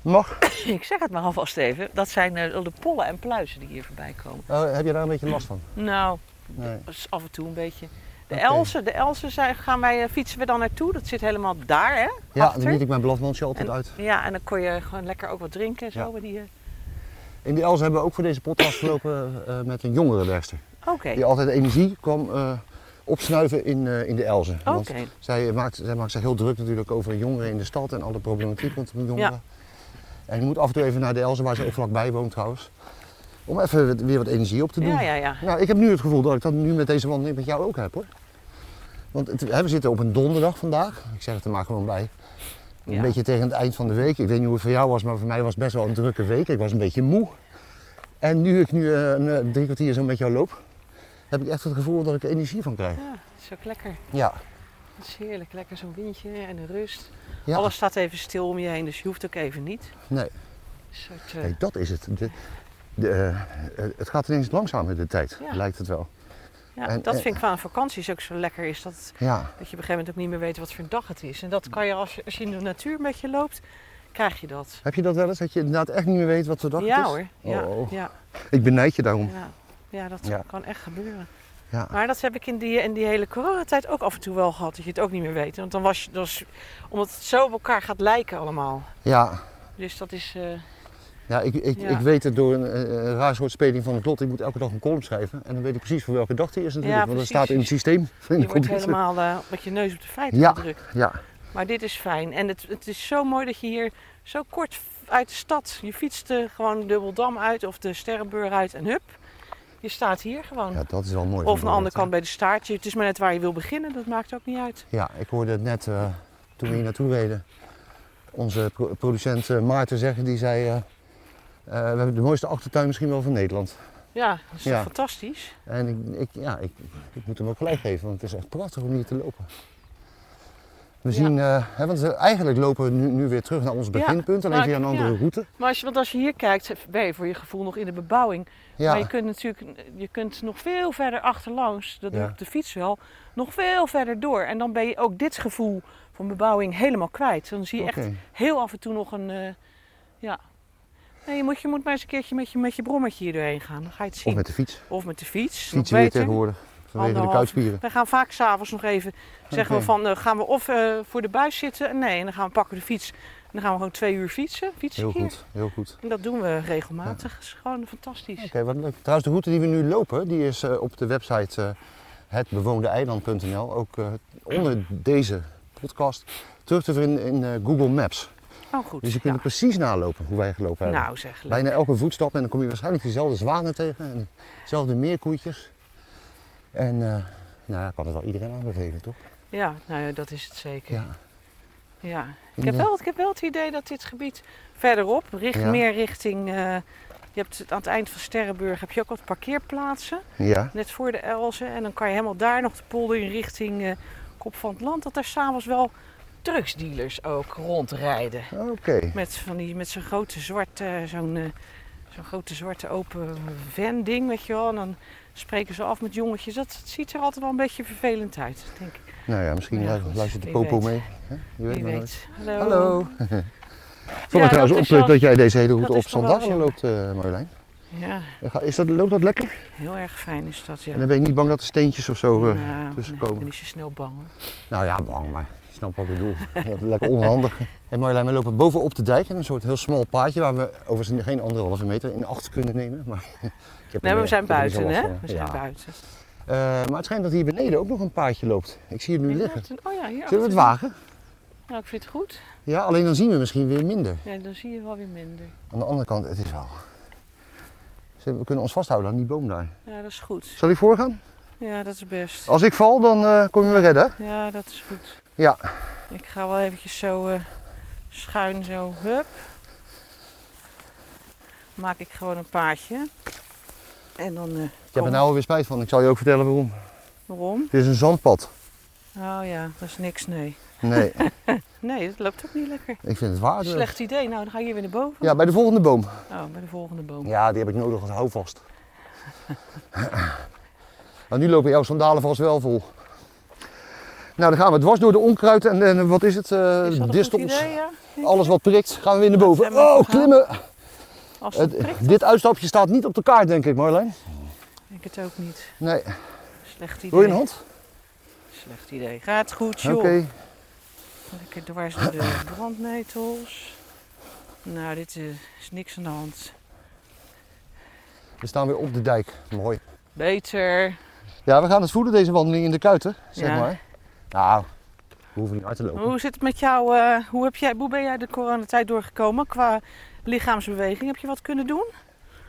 Mag? Ik zeg het maar alvast even. Dat zijn eh, de pollen en pluizen die hier voorbij komen. Oh, heb je daar een beetje last van? Nou, Nee. Dat is af en toe een beetje. De Oké. Elsen, de Elsen zijn, gaan wij, eh, fietsen we dan naartoe. Dat zit helemaal daar, hè? Ja, dan Achter. bied ik mijn bladmondje altijd En- uit. Ja, en dan kon je gewoon lekker ook wat drinken en zo. Ja. bij die, eh, In die Els hebben we ook voor deze podcast gelopen eh, met een jongere werkster. Oké, Die altijd energie kwam eh, opsnuiven in, eh, in de Elzen. oké. Want zij maakt, zij maakt zich heel druk natuurlijk over jongeren in de stad en alle problematiek rondom jongeren. En je moet af en toe even naar de Elzen, waar ze ook vlakbij woont trouwens. Om even wat- weer wat energie op te doen. Ja, ja, ja. Nou, ik heb nu het gevoel dat ik dat nu met deze wandeling met jou ook heb hoor. Want het, hè, we zitten op een donderdag vandaag. Ik zeg het er maar gewoon bij. Een Ja. beetje tegen het eind van de week. Ik weet niet hoe het voor jou was, maar voor mij was het best wel een drukke week. Ik was een beetje moe. En nu ik nu eh, een, eh, drie kwartier zo met jou loop, heb ik echt het gevoel dat ik er energie van krijg. Ja, het is ook lekker. Ja. Het is heerlijk. Lekker zo'n windje en de rust. ja. Alles staat even stil om je heen, dus je hoeft ook even niet. Nee, Een soort, eh, nee, dat is het. De, de, eh, het gaat ineens langzaam in de tijd, Ja. lijkt het wel. ja, en- dat en- vind ik van vakanties ook zo lekker is. Dat, Ja, dat je op een gegeven moment ook niet meer weet wat voor een dag het is. En dat kan je als je, als je in de natuur met je loopt, krijg je dat. heb je dat wel eens? Dat je inderdaad echt niet meer weet wat voor dag het ja is? hoor. Ja, Oh. ja, Ik benijd je daarom. ja. ja, dat Ja. kan echt gebeuren. Ja. Maar dat heb ik in die, in die hele coronatijd ook af en toe wel gehad. Dat je het ook niet meer weet. Want dan was je, dat is- omdat het zo op elkaar gaat lijken allemaal. ja. Dus dat is... eh, Ja, ik, ik, Ja. ik weet het door een, eh, een raar soort speling van het lot. Ik moet elke dag een column schrijven. En dan weet ik precies voor welke dag die is natuurlijk. Ja, want dat precies. staat in het systeem. In de je wordt computer. helemaal eh, met je neus op de feiten Ja. gedrukt. Ja, Maar dit is fijn. En het, het is zo mooi dat je hier zo kort uit de stad... Je fietst eh, gewoon Dubbeldam uit of de Sterrenburg uit en hup. Je staat hier gewoon. ja, dat is wel mooi. of aan van de andere Dordt, hè. kant bij de staartje. Het is maar net waar je wil beginnen. Dat maakt ook niet uit. Ja, ik hoorde het net eh, toen we hier naartoe reden. Onze pro- producent eh, Maarten zeggen, die zei... eh, eh, we hebben de mooiste achtertuin misschien wel van Nederland. Ja, dat is toch Ja. fantastisch. En ik, ik, ja, ik, ik moet hem ook gelijk geven, want het is echt prachtig om hier te lopen. We Ja. zien, eh, hè, want eh, eigenlijk lopen we nu, nu weer terug naar ons beginpunt, alleen maar via Nou, ik- een andere ja. route. Maar als je, want als je hier kijkt, ben je voor je gevoel nog in de bebouwing. Ja. Maar je kunt natuurlijk je kunt nog veel verder achterlangs, dat doe Ja. ik op de fiets wel, nog veel verder door. En dan ben je ook dit gevoel van bebouwing helemaal kwijt. Dan zie je echt Oké. heel af en toe nog een. eh, ja. Nee, je, moet, je moet maar eens een keertje met je, met je brommetje hier doorheen gaan. Dan ga je het zien. Of met de fiets. Of met de fiets. nog Fietsen weer beter. tegenwoordig. Vanwege de Anderhalf. kuitspieren. We gaan vaak s'avonds nog even zeggen we Oké. van eh, gaan we of eh, voor de buis zitten. Nee, en dan gaan we pakken de fiets. En dan gaan we gewoon twee uur fietsen. Fietsen Heel hier. goed, heel goed. En dat doen we regelmatig. Dat is gewoon fantastisch. Oké, wat leuk. Trouwens, de route die we nu lopen, die is eh, op de website eh, hetbewoondeeiland.nl. Ook eh, onder deze podcast terug te vinden in eh, Google Maps. Oh, goed. Dus je kunt ja. er precies nalopen hoe wij gelopen hebben. Nou, zeg leuk. Bijna elke voetstap en dan kom je waarschijnlijk dezelfde zwanen tegen en dezelfde meerkoetjes. En eh, nou, ja, kan het wel iedereen aanbevelen, toch? Ja, nou ja, dat is het zeker. Ja. Ja. Ik, heb wel, ik heb wel het idee dat dit gebied verderop, richt, Ja. meer richting... eh, je hebt het- aan het eind van Sterrenburg heb je ook wat parkeerplaatsen. Ja. Net voor de Elzen. En dan kan je helemaal daar nog de polder in richting eh, Kop van het Land. Dat daar s'avonds wel drugsdealers ook rondrijden. Oké. Met, van die- met zo'n grote zwarte, zo'n eh, zo'n grote zwarte open van ding, weet je wel. En dan spreken ze af met jongetjes. Dat, dat ziet er altijd wel een beetje vervelend uit, denk ik. Nou ja, misschien Ja, lu- goed. luistert de Wie popo weet. mee. hè? Je weet Wie maar nooit. weet. Hallo. Hallo. Ja, Vond ik dat trouwens is opleuk wel- dat jij deze hele dat route is op toch wel sandalen loopt, jammer. eh Marjolein. Ja, Ga- Is dat, loopt dat lekker? heel erg fijn is dat, ja. En dan ben je niet bang dat er steentjes of zo eh, Nou, tussen nee, ik ben komen? niet zo snel bang. hoor. Nou ja, bang, maar ik snap wat ik bedoel. Ja, lekker onhandig. En Marjolein, we lopen bovenop de dijk in een soort heel smal paadje waar we overigens geen anderhalve meter in acht kunnen nemen. Maar, ik heb Nee, er- maar we zijn ik heb er niet zo buiten, last hè? van. We zijn Ja. buiten. Eh, maar het schijnt dat hier beneden ook nog een paadje loopt. Ik zie het nu Hier liggen. achter- Oh ja, hier Zullen we het achter. wagen? Nou, ik vind het goed. Ja, alleen dan zien we misschien weer minder. Ja, dan zie je wel weer minder. Aan de andere kant, het is wel... We kunnen ons vasthouden aan die boom daar. Ja, dat is goed. Zal ik voorgaan? Ja, dat is best. Als ik val, dan eh, kom je me redden. hè? Ja, dat is goed. Ja. Ik ga wel eventjes zo eh, schuin zo. Hup. Maak ik gewoon een paadje. En dan eh Ik heb er kom- nou alweer spijt van. Ik zal je ook vertellen waarom. waarom? Dit is een zandpad. Oh ja, dat is niks, nee. Nee, Nee, dat loopt ook niet lekker. ik vind het waard. Slecht idee. Nou, dan ga ik hier weer naar boven. Ja, bij de volgende boom. Oh, bij de volgende boom. Ja, die heb ik nodig als houvast. nou, nu lopen jouw sandalen vast wel vol. Nou, dan gaan we dwars door de onkruid en, en wat is het? eh, Is dat een distels. goed idee, ja? Alles wat prikt, gaan we weer naar Ja, boven. maar we Oh, gaan- klimmen! Als het Het- prikt, dit uitstapje staat niet op de kaart, denk ik, Marjolein. denk ik het ook niet. Nee. Slecht idee. Wil je een hand? Slecht idee. Gaat goed, Oké. joh. Lekker dwars door de brandnetels. Nou, dit eh, is niks aan de hand. We staan weer op de dijk. Mooi. Beter. Ja, we gaan het voelen, deze wandeling in de kuiten, zeg Ja. maar. Nou, we hoeven niet hard te lopen. Hoe zit het met jou? eh, hoe, heb jij, hoe ben jij de coronatijd doorgekomen qua lichaamsbeweging? Heb je wat kunnen doen?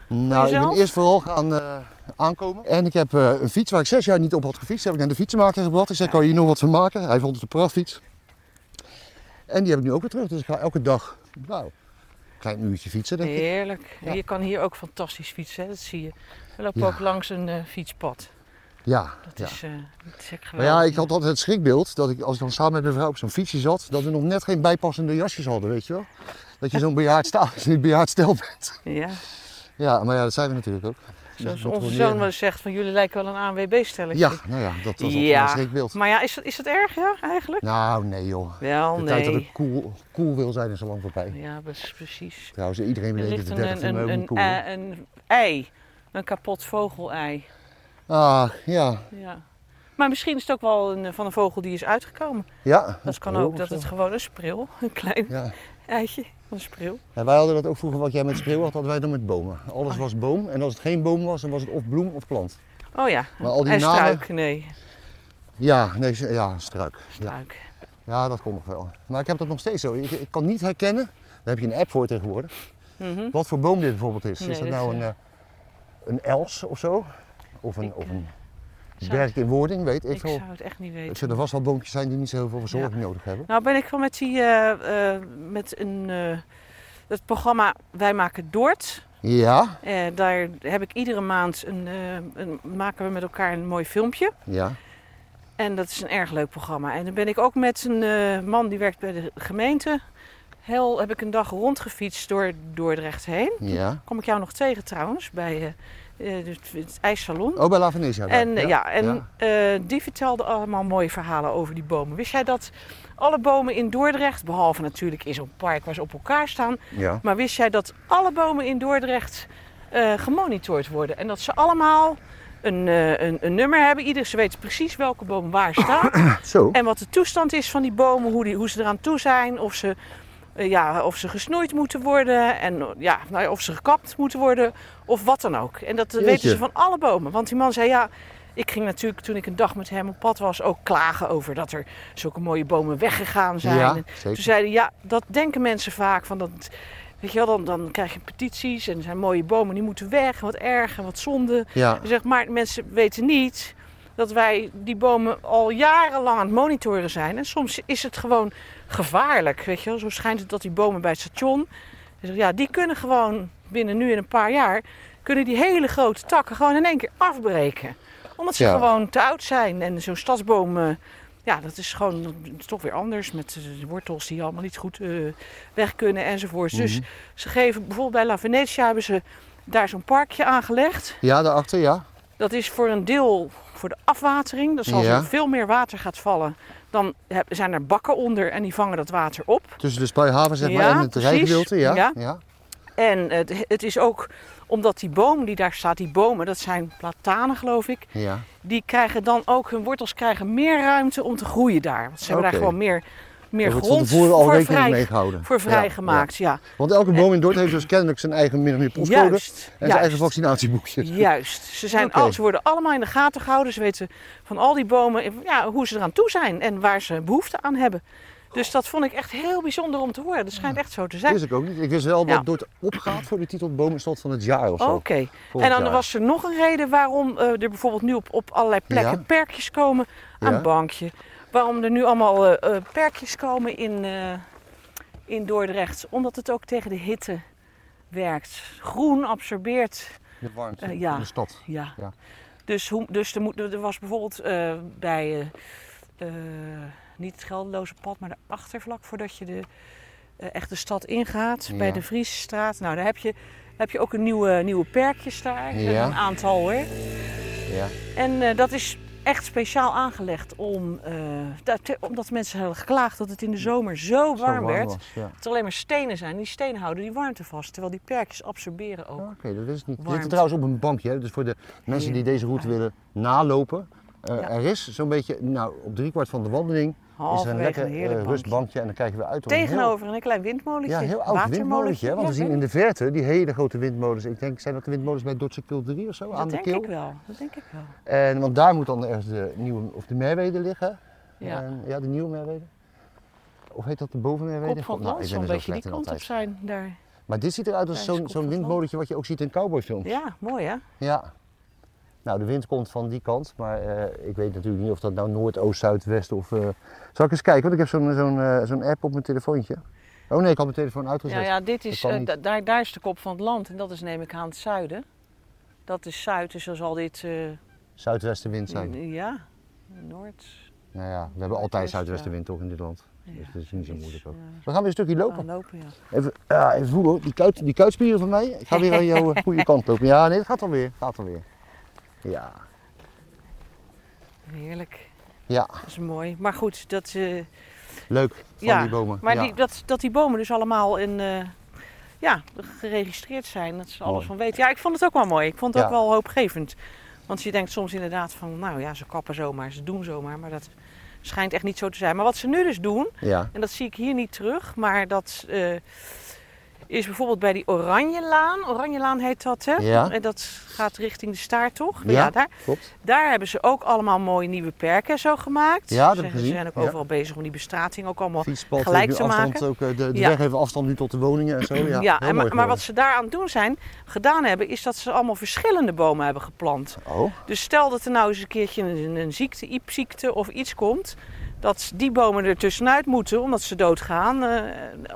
Nou, ik ben jezelf? eerst vooral gaan eh, aankomen. En ik heb eh, een fiets waar ik zes jaar niet op had gefietst. Heb ik naar de fietsenmaker gebracht. Ik zei, kan je hier nog wat van maken? Hij vond het een prachtfiets. En die heb ik nu ook weer terug. Dus ik ga elke dag, nou, een klein uurtje fietsen denk ik. Heerlijk. Ja. Je kan hier ook fantastisch fietsen, hè? dat zie je. We lopen Ja. ook langs een eh, fietspad. Ja, Dat ja. is, eh dat is echt Maar ja, geweldig. ik had altijd het schrikbeeld dat ik als ik dan samen met mijn vrouw op zo'n fietsje zat, dat we nog net geen bijpassende jasjes hadden, weet je wel. Dat je zo'n bejaard, sta, bejaard stel bent. Ja. Ja, maar ja, dat zijn we natuurlijk ook. Dus Zoals dat moet onze wel zoon wel eens zegt, van jullie lijken wel een ANWB-stelletje. Ja, nou ja, dat was altijd Ja. mijn schrikbeeld. Maar ja, is dat, is dat erg, ja, eigenlijk? Nou, nee joh. Wel, De tijd dat nee. ik cool, cool wil zijn is al lang voorbij. Ja, dat is precies. Trouwens, iedereen Er bedenkt ligt dat een, 30 een, van een, me een, cool. ei- een ei, een kapot vogelei. Ah, ja. Ja. Maar misschien is het ook wel een, eh, van een vogel die is uitgekomen. ja. Dat kan Cool ook, of dat zo. het gewoon een spril, een klein Ja. eitje van een spril. En wij hadden dat ook vroeger, wat jij met spreeuw had, hadden wij dan met bomen. Alles was boom en als het geen boom was, dan was het of bloem of plant. Oh ja, Maar al die en namen- struik, nee, Ja, nee, ze- ja, struik. Ja. struik. ja, dat komt nog wel. Maar ik heb dat nog steeds zo. Ik, ik kan niet herkennen, daar heb je een app voor tegenwoordig, Mhm. wat voor boom dit bijvoorbeeld is. Nee, is dat dat is, nou een, eh, eh, een els of zo? Of een, Ik, eh, of een zou berk in wording, weet ik Ik veel. zou het echt niet Het weten. zullen vast wel boompjes zijn die niet zo heel veel verzorging nodig hebben. Nou ben ik wel met die, eh, eh, met een, eh, het programma Wij Maken Doort. Ja, Eh, daar heb ik iedere maand een, eh, een, maken we met elkaar een mooi filmpje. ja. En dat is een erg leuk programma. En dan ben ik ook met een eh, man die werkt bij de gemeente. Heel heb ik een dag rondgefietst door Dordrecht heen. Ja. Kom ik jou nog tegen trouwens bij eh, eh, het, het ijssalon. Oh, bij La Venetia. daar. en eh, ja, en ja. eh, die vertelde allemaal mooie verhalen over die bomen. Wist jij dat alle bomen in Dordrecht, behalve natuurlijk in zo'n park waar ze op elkaar staan, Ja. maar wist jij dat alle bomen in Dordrecht eh, gemonitord worden? En dat ze allemaal een, eh, een, een nummer hebben. Ieder, ze weten precies welke boom waar staat. Zo. en wat de toestand is van die bomen. Hoe, die, hoe ze eraan toe zijn. Of ze, eh, ja, of ze gesnoeid moeten worden. En eh, ja, nou ja, of ze gekapt moeten worden. Of wat dan ook. En dat eh, weten Jeetje. ze van alle bomen. Want die man zei ja... Ik ging natuurlijk toen ik een dag met hem op pad was ook klagen over dat er zulke mooie bomen weggegaan zijn. Ja, En zeker. toen zeiden ja, dat denken mensen vaak. Van dat, weet je wel, dan, dan krijg je petities en er zijn mooie bomen, die moeten weg. En wat erg en wat zonde. Ja. Hij zegt, maar mensen weten niet dat wij die bomen al jarenlang aan het monitoren zijn. En soms is het gewoon gevaarlijk, weet je wel. Zo schijnt het dat die bomen bij het station... Hij zegt, ja, die kunnen gewoon binnen nu en een paar jaar... kunnen die hele grote takken gewoon in één keer afbreken. Omdat ze Ja. gewoon te oud zijn. En zo'n stadsboom... eh, ja, dat is gewoon dat is toch weer anders met eh, de wortels die allemaal niet goed eh, weg kunnen enzovoort. Dus Mhm. ze geven bijvoorbeeld bij La Venetia hebben ze daar zo'n parkje aangelegd. Ja, daarachter, ja. Dat is voor een deel voor de afwatering. Dus als Ja. er veel meer water gaat vallen, dan heb- zijn er bakken onder en die vangen dat water op. Tussen de Spuihaven zeg maar Ja, en het precies. rijgedeelte, ja. Ja. ja. En het, het is ook omdat die boom die daar staat, die bomen, dat zijn platanen geloof ik, ja. die krijgen dan ook hun wortels krijgen meer ruimte om te groeien daar. Want ze hebben daar Oké. gewoon meer, meer Daar wordt van grond tevoren al voor, rekening vrij, mee gehouden. voor Ja, vrijgemaakt. Ja, ja. Want elke boom in Dordt heeft dus kennelijk zijn eigen min of meer postcode Juist, en zijn eigen juist. vaccinatieboekje. Juist. Ze, zijn Oké. al, ze worden allemaal in de gaten gehouden. Ze weten van al die bomen ja, hoe ze eraan toe zijn en waar ze behoefte aan hebben. Dus dat vond ik echt heel bijzonder om te horen. Dat schijnt echt zo te zijn. wist ik ook niet. Ik wist wel dat Ja. Dordt opgaat voor de titel Bomenstad van het jaar of Oké. zo. En volgend dan jaar. was er nog een reden waarom eh, er bijvoorbeeld nu op, op allerlei plekken Ja. perkjes komen aan Ja. bankje. Waarom er nu allemaal eh, eh, perkjes komen in, eh, in Dordrecht. Omdat het ook tegen de hitte werkt. Groen absorbeert. De warmte Eh, ja. van de stad. Ja. Ja. Dus, hoe, dus er, moet, er was bijvoorbeeld eh, bij eh, eh, niet het Gelderloze pad, maar de achtervlak voordat je de, eh, echt de stad ingaat. Bij Ja. de Vriesstraat. Nou, daar heb je, heb je ook een nieuwe, nieuwe perkjes daar. eh, Ja. Een aantal hoor. Ja. En eh, dat is echt speciaal aangelegd om, eh, dat- omdat mensen hadden geklaagd dat het in de zomer zo Zo warm, werd. Dat was, ja. het alleen maar stenen zijn. Die stenen houden die warmte vast, terwijl die perkjes absorberen ook. Ah, Oké, dat wist ik niet. We Warmte. zitten trouwens op een bankje, hè? dus voor de mensen die deze route willen nalopen. eh, Ja. Er is zo'n beetje, nou op driekwart van de wandeling, is er Halverwege een lekker een eh, heerlijk bankje. rustbankje en dan kijken we uit op een heel- Tegenover een klein windmolentje. Ja, een heel oud watermolentje. windmolentje. hè? Want we Ja, zien in de verte die hele grote windmolens. Ik denk, zijn dat de windmolens bij Dordtse Kultuur of zo? dat aan de denk keel. ik wel. Dat denk ik wel. En, want daar moet dan ergens de nieuwe, of de Merwede liggen. Ja. En, Eh, ja, de nieuwe Merwede. Of heet dat de bovenmerwede? Kop van God, het land Nou, ik ben dus zo'n er zo beetje die slecht in kant op altijd. zijn daar. Maar dit ziet eruit als Ja, is zo'n Kop zo'n van het Land. windmolentje wat je ook ziet in cowboyfilms. Ja, mooi hè? Ja. Nou, de wind komt van die kant, maar eh, ik weet natuurlijk niet of dat nou noordoost, zuidwest of... eh, Zal ik eens kijken, want ik heb zo'n zo'n eh, zo'n app op mijn telefoontje. Oh nee, ik had mijn telefoon Ja, uitgezet. ja, dit is, kan eh, niet. da- daar, daar is de kop van het land en dat is neem ik aan het zuiden. Dat is zuid, dus dan zal dit... eh, Zuidwestenwind zijn. Ja, noord. Nou ja, we hebben altijd Noordwest, zuidwestenwind toch in dit land. Ja, eh, Dus dat is niet zo zoiets, moeilijk ook. ja. We gaan weer een stukje Gaan lopen. lopen, ja. Even, ja, even voelen hoor, die, kuit, die kuitspieren van mij. Ik ga weer aan jouw eh, goede kant lopen. Ja, nee, dat gaat alweer. Gaat alweer. Ja. Heerlijk. Ja, Dat is mooi. Maar goed, dat... eh, leuk van ja, die bomen. Maar ja. Die, dat, dat die bomen dus allemaal in... eh, ja, geregistreerd zijn. Dat ze alles Mooi. van weten. Ja, ik vond het ook wel mooi. Ik vond het ook Ja. wel hoopgevend. Want je denkt soms inderdaad van... Nou ja, ze kappen zomaar, ze doen zomaar. Maar dat schijnt echt niet zo te zijn. Maar wat ze nu dus doen... Ja, En dat zie ik hier niet terug, maar dat eh, is bijvoorbeeld bij die Oranjelaan. Oranjelaan heet dat, hè? Ja. En dat gaat richting de staart, toch? Ja. daar, klopt. daar hebben ze ook allemaal mooie nieuwe perken zo gemaakt. Ja, dat ze, heb ik ze gezien, zijn ook ja. overal bezig om die bestrating ook allemaal... Fietspad Gelijk heeft nu te afstand maken. ook. eh, De, de Ja. weg heeft afstand nu tot de woningen en zo. Ja, heel en mooi maar, maar geworden. wat ze daar aan het doen zijn, gedaan hebben, is dat ze allemaal verschillende bomen hebben geplant. Oh, Dus stel dat er nou eens een keertje een, een ziekte, iepziekte of iets komt, dat die bomen er tussenuit moeten omdat ze doodgaan eh,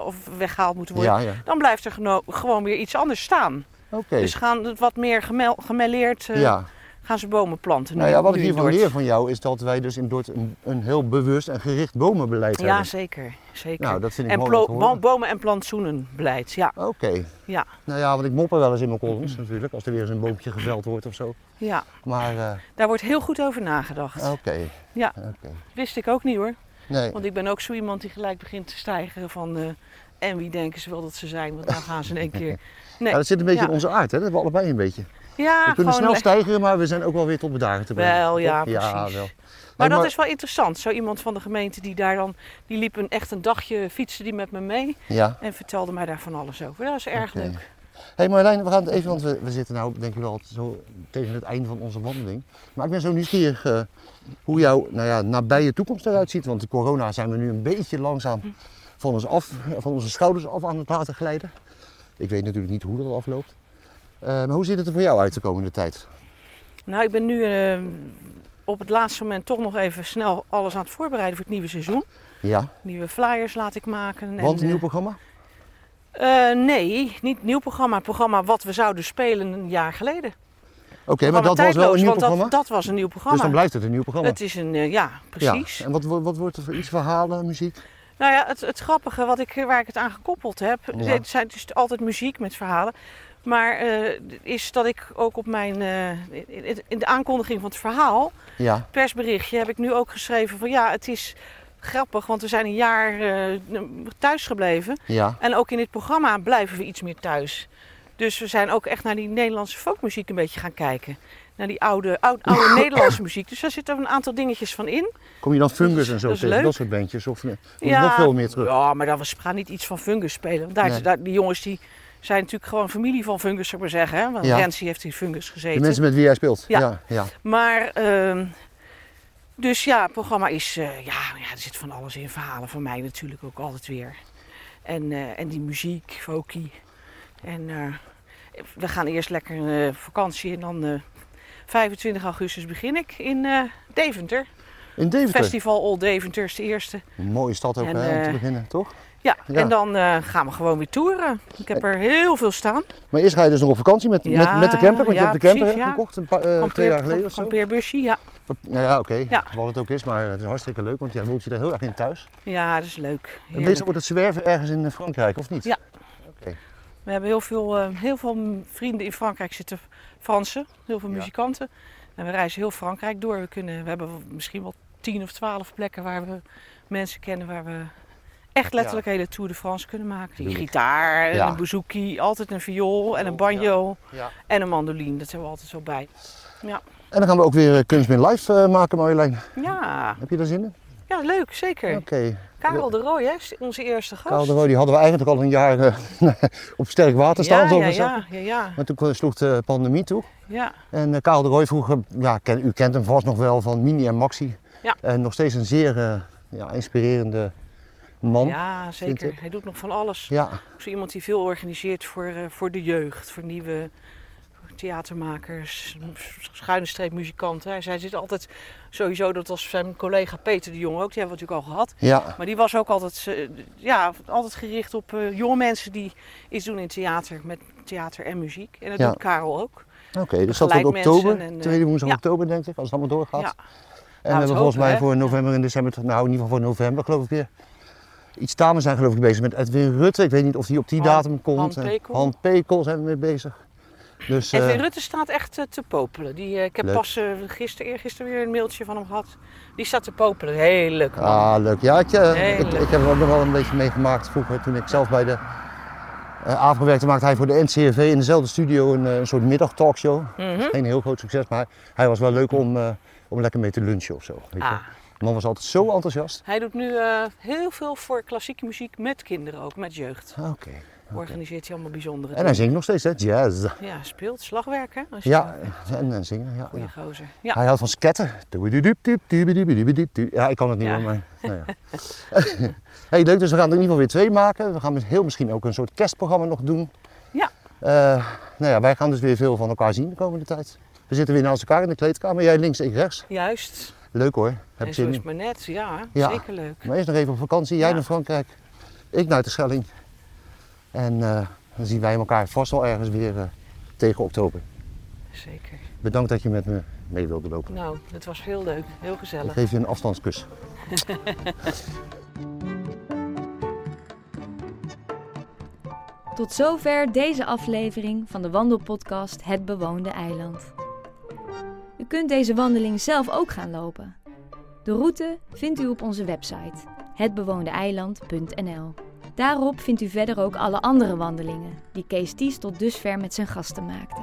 of weggehaald moeten worden. ja, ja. dan blijft er geno- gewoon weer iets anders staan. Oké. Dus gaan het wat meer gemel- gemêleerd eh, ja. gaan ze bomen planten. Nou nu- ja, wat nu ik in hiervan Dordt. leer van jou is dat wij dus in Dordt een, een heel bewust en gericht bomenbeleid Ja, hebben. zeker. zeker. Nou, dat vind ik en mooi plo- om te horen. bo- bomen- en plantsoenenbeleid, ja. Oké. Ja. Nou ja, want ik mop er wel eens in mijn columns natuurlijk, als er weer eens een boompje geveld wordt of zo. ja. Maar, eh, Daar wordt heel goed over nagedacht. oké. Ja. Oké. Wist ik ook niet hoor. Nee. Want ik ben ook zo iemand die gelijk begint te stijgen van... eh, en wie denken ze wel dat ze zijn, want dan gaan ze in één keer... Nee. Ja, dat zit een beetje ja. in onze aard, hè? Dat hebben we allebei een beetje. Ja, we kunnen snel gewoon... eh, stijgen, maar we zijn ook wel weer tot bedaren te brengen. Wel, ja, Toch? Ja, precies. wel. Maar Nee, dat is wel interessant. Zo iemand van de gemeente die daar dan... Die liep een, echt een dagje, fietste die met me mee. Ja. En vertelde mij daar van alles over. Dat is erg Oké. leuk. hey Marjolein, we gaan het even, want we, we zitten nou, denk ik wel, zo tegen het einde van onze wandeling. Maar ik ben zo nieuwsgierig eh, hoe jouw nou ja, nabije toekomst eruit ziet. Want de corona zijn we nu een beetje langzaam van, ons af, van onze schouders af aan het laten glijden. Ik weet natuurlijk niet hoe dat afloopt. Eh, maar hoe ziet het er voor jou uit de komende tijd? Nou, ik ben nu eh, op het laatste moment toch nog even snel alles aan het voorbereiden voor het nieuwe seizoen. Ja, Nieuwe flyers laat ik maken. en, want een nieuw eh, programma? eh, nee, niet nieuw programma. Het programma wat we zouden spelen een jaar geleden. Oké, maar dat was wel een nieuw want programma? Dat, dat was een nieuw programma. Dus dan blijft het een nieuw programma? Het is een, eh, ja, precies. Ja. En wat, wo- wat wordt er voor iets? Verhalen, muziek? Nou ja, het, het grappige wat ik, eh, waar ik het aan gekoppeld heb, Ja. het zijn dus altijd muziek met verhalen. Maar eh, is dat ik ook op mijn, eh, in- in de aankondiging van het verhaal, Ja. persberichtje heb ik nu ook geschreven van ja, het is grappig, want we zijn een jaar eh thuis gebleven. Ja. En ook in dit programma blijven we iets meer thuis. Dus we zijn ook echt naar die Nederlandse folkmuziek een beetje gaan kijken. Naar die oude, oude, oude Nederlandse muziek. Dus daar zitten een aantal dingetjes van in. Kom je dan fungus en zo Dat is tegen, leuk. dat soort bandjes? Of eh, moet je nog veel meer terug? Ja, maar dat we gaan niet iets van fungus spelen. Want daar, Nee. daar- die jongens die zijn natuurlijk gewoon familie van fungus, zou ik maar zeggen. Hè? Want Ja. Rensie heeft in fungus gezeten. De mensen met wie jij speelt? Ja. ja, ja. Maar ehm, Dus ja, het programma is, eh, ja, ja, er zit van alles in. Verhalen van mij natuurlijk ook altijd weer. En, eh, en die muziek, folkie. En eh, we gaan eerst lekker eh, vakantie en dan eh, 25 augustus begin ik in eh, Deventer. In Deventer. Festival All Deventer is de eerste. Een mooie stad ook En, hè, om te eh, beginnen, toch? Ja, Ja. en dan eh, gaan we gewoon weer toeren. Ik heb er heel veel staan. Maar eerst ga je dus nog op vakantie met, Ja, met, met de camper. Want ja, je hebt de camper precies, hè, ja. gekocht een paar, eh, twee jaar geleden of zo. Kampeerbusje, ja. Nou ja, oké. Ja. Wat het ook is, maar het is hartstikke leuk, want jij voelt je er heel erg in thuis. Ja, dat is leuk. En Heerlijk. meestal wordt het zwerven ergens in eh, Frankrijk, of niet? Ja. We hebben heel veel, eh, heel veel vrienden in Frankrijk zitten, Fransen, heel veel Ja. muzikanten. En we reizen heel Frankrijk door. We, kunnen, we hebben misschien wel tien of twaalf plekken waar we mensen kennen waar we echt letterlijk hele Tour de France kunnen maken. Die Tuurlijk. gitaar, en Ja. een bouzouki, altijd een viool en een Viool, ja. banjo ja. en een mandoline. Dat hebben we altijd zo bij. En dan gaan we ook weer eh, Kunstmin Live eh, maken, Marjolein. Ja, Heb je daar zin in? ja leuk, zeker. Oké. Karel de Rooij, hè, is onze eerste gast. Karel de Roo, die hadden we eigenlijk al een jaar eh, op sterk water staan, ja, zo ja, maar zeggen. ja, ja, ja, Maar toen eh, sloeg de pandemie toe. ja. En eh, Karel de Rooij vroeger, ja, ken- u kent hem vast nog wel van Mini en Maxi. Ja. En nog steeds een zeer eh, ja, inspirerende man. Ja, zeker. ik. Hij doet nog van alles. Ja, Ook zo iemand die veel organiseert voor, eh, voor de jeugd, voor nieuwe theatermakers, schuine streep muzikanten. Hij- Hij zit altijd sowieso, dat was zijn collega Peter de Jong ook, die hebben we natuurlijk al gehad. ja. Maar die was ook altijd, eh, ja, altijd gericht op eh, jonge mensen die iets doen in theater, met theater en muziek. En dat Ja. doet Karel ook. Oké, dus dat wordt Begeleid mensen oktober, en, eh, tweede woensdag ja. oktober denk ik, als het allemaal doorgaat. Ja. En we het hebben volgens hopen, mij hè? voor november en december, nou in ieder geval voor november geloof ik weer. Iets samen zijn geloof ik bezig met Edwin Rutte. Ik weet niet of die op die Han- datum komt. Han En Pekel. Han Pekel zijn we mee bezig. Dus, En eh, Rutte staat echt eh, te popelen. Die, eh, ik heb Leuk. pas eh, gisteren, eergisteren weer een mailtje van hem gehad. Die staat te popelen. Heel leuk. man. Ah, leuk. Ja, ik, eh, Heel ik, leuk. ik heb er ook nog wel een beetje meegemaakt vroeger toen ik zelf bij de eh AVRO werkte. Maakte hij voor de NCRV in dezelfde studio een, eh, een soort middagtalkshow. Mhm. Geen heel groot succes, maar hij was wel leuk om, eh, om lekker mee te lunchen of zo. Weet je. Ah. De man was altijd zo enthousiast. Hij doet nu eh, heel veel voor klassieke muziek met kinderen ook, met jeugd. Ah, Oké. Organiseert hij allemaal bijzondere En hij zingt nog steeds, hè? Jazz. dingen. Ja, speelt slagwerk hè? Als je- Ja, en, en zingen. Ja, Goeie ja. gozer. Ja. Hij houdt van sketten. Ja, ik kan het niet Ja. hoor, maar nou ja. hey, leuk, dus we gaan er in ieder geval weer twee maken. We gaan met- heel misschien ook een soort kerstprogramma nog doen. Ja. Eh, nou ja, wij gaan dus weer veel van elkaar zien de komende tijd. We zitten weer naast elkaar in de kleedkamer. Jij links, ik rechts. Juist. Leuk hoor, heb en zo zin is in. het maar net. Ja, Ja. zeker leuk. Maar eerst nog even op vakantie. Jij Ja. naar Frankrijk, ik naar de Schelling. En eh, dan zien wij elkaar vast wel ergens weer eh, tegen oktober. Zeker. Bedankt dat je met me mee wilde lopen. Nou, het was heel leuk. Heel Ik gezellig. geef je een afstandskus. Tot zover deze aflevering van de wandelpodcast Het Bewoonde Eiland. U kunt deze wandeling zelf ook gaan lopen. De route vindt u op onze website hetbewoondeeiland.nl. Daarop vindt u verder ook alle andere wandelingen die Kees Ties tot dusver met zijn gasten maakte.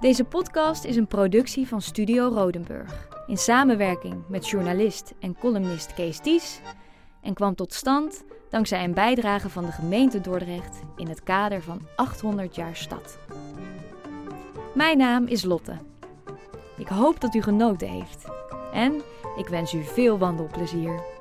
Deze podcast is een productie van Studio Rodenburg in samenwerking met journalist en columnist Kees Ties en kwam tot stand dankzij een bijdrage van de gemeente Dordrecht in het kader van 800 jaar stad. Mijn naam is Lotte. Ik hoop dat u genoten heeft en ik wens u veel wandelplezier.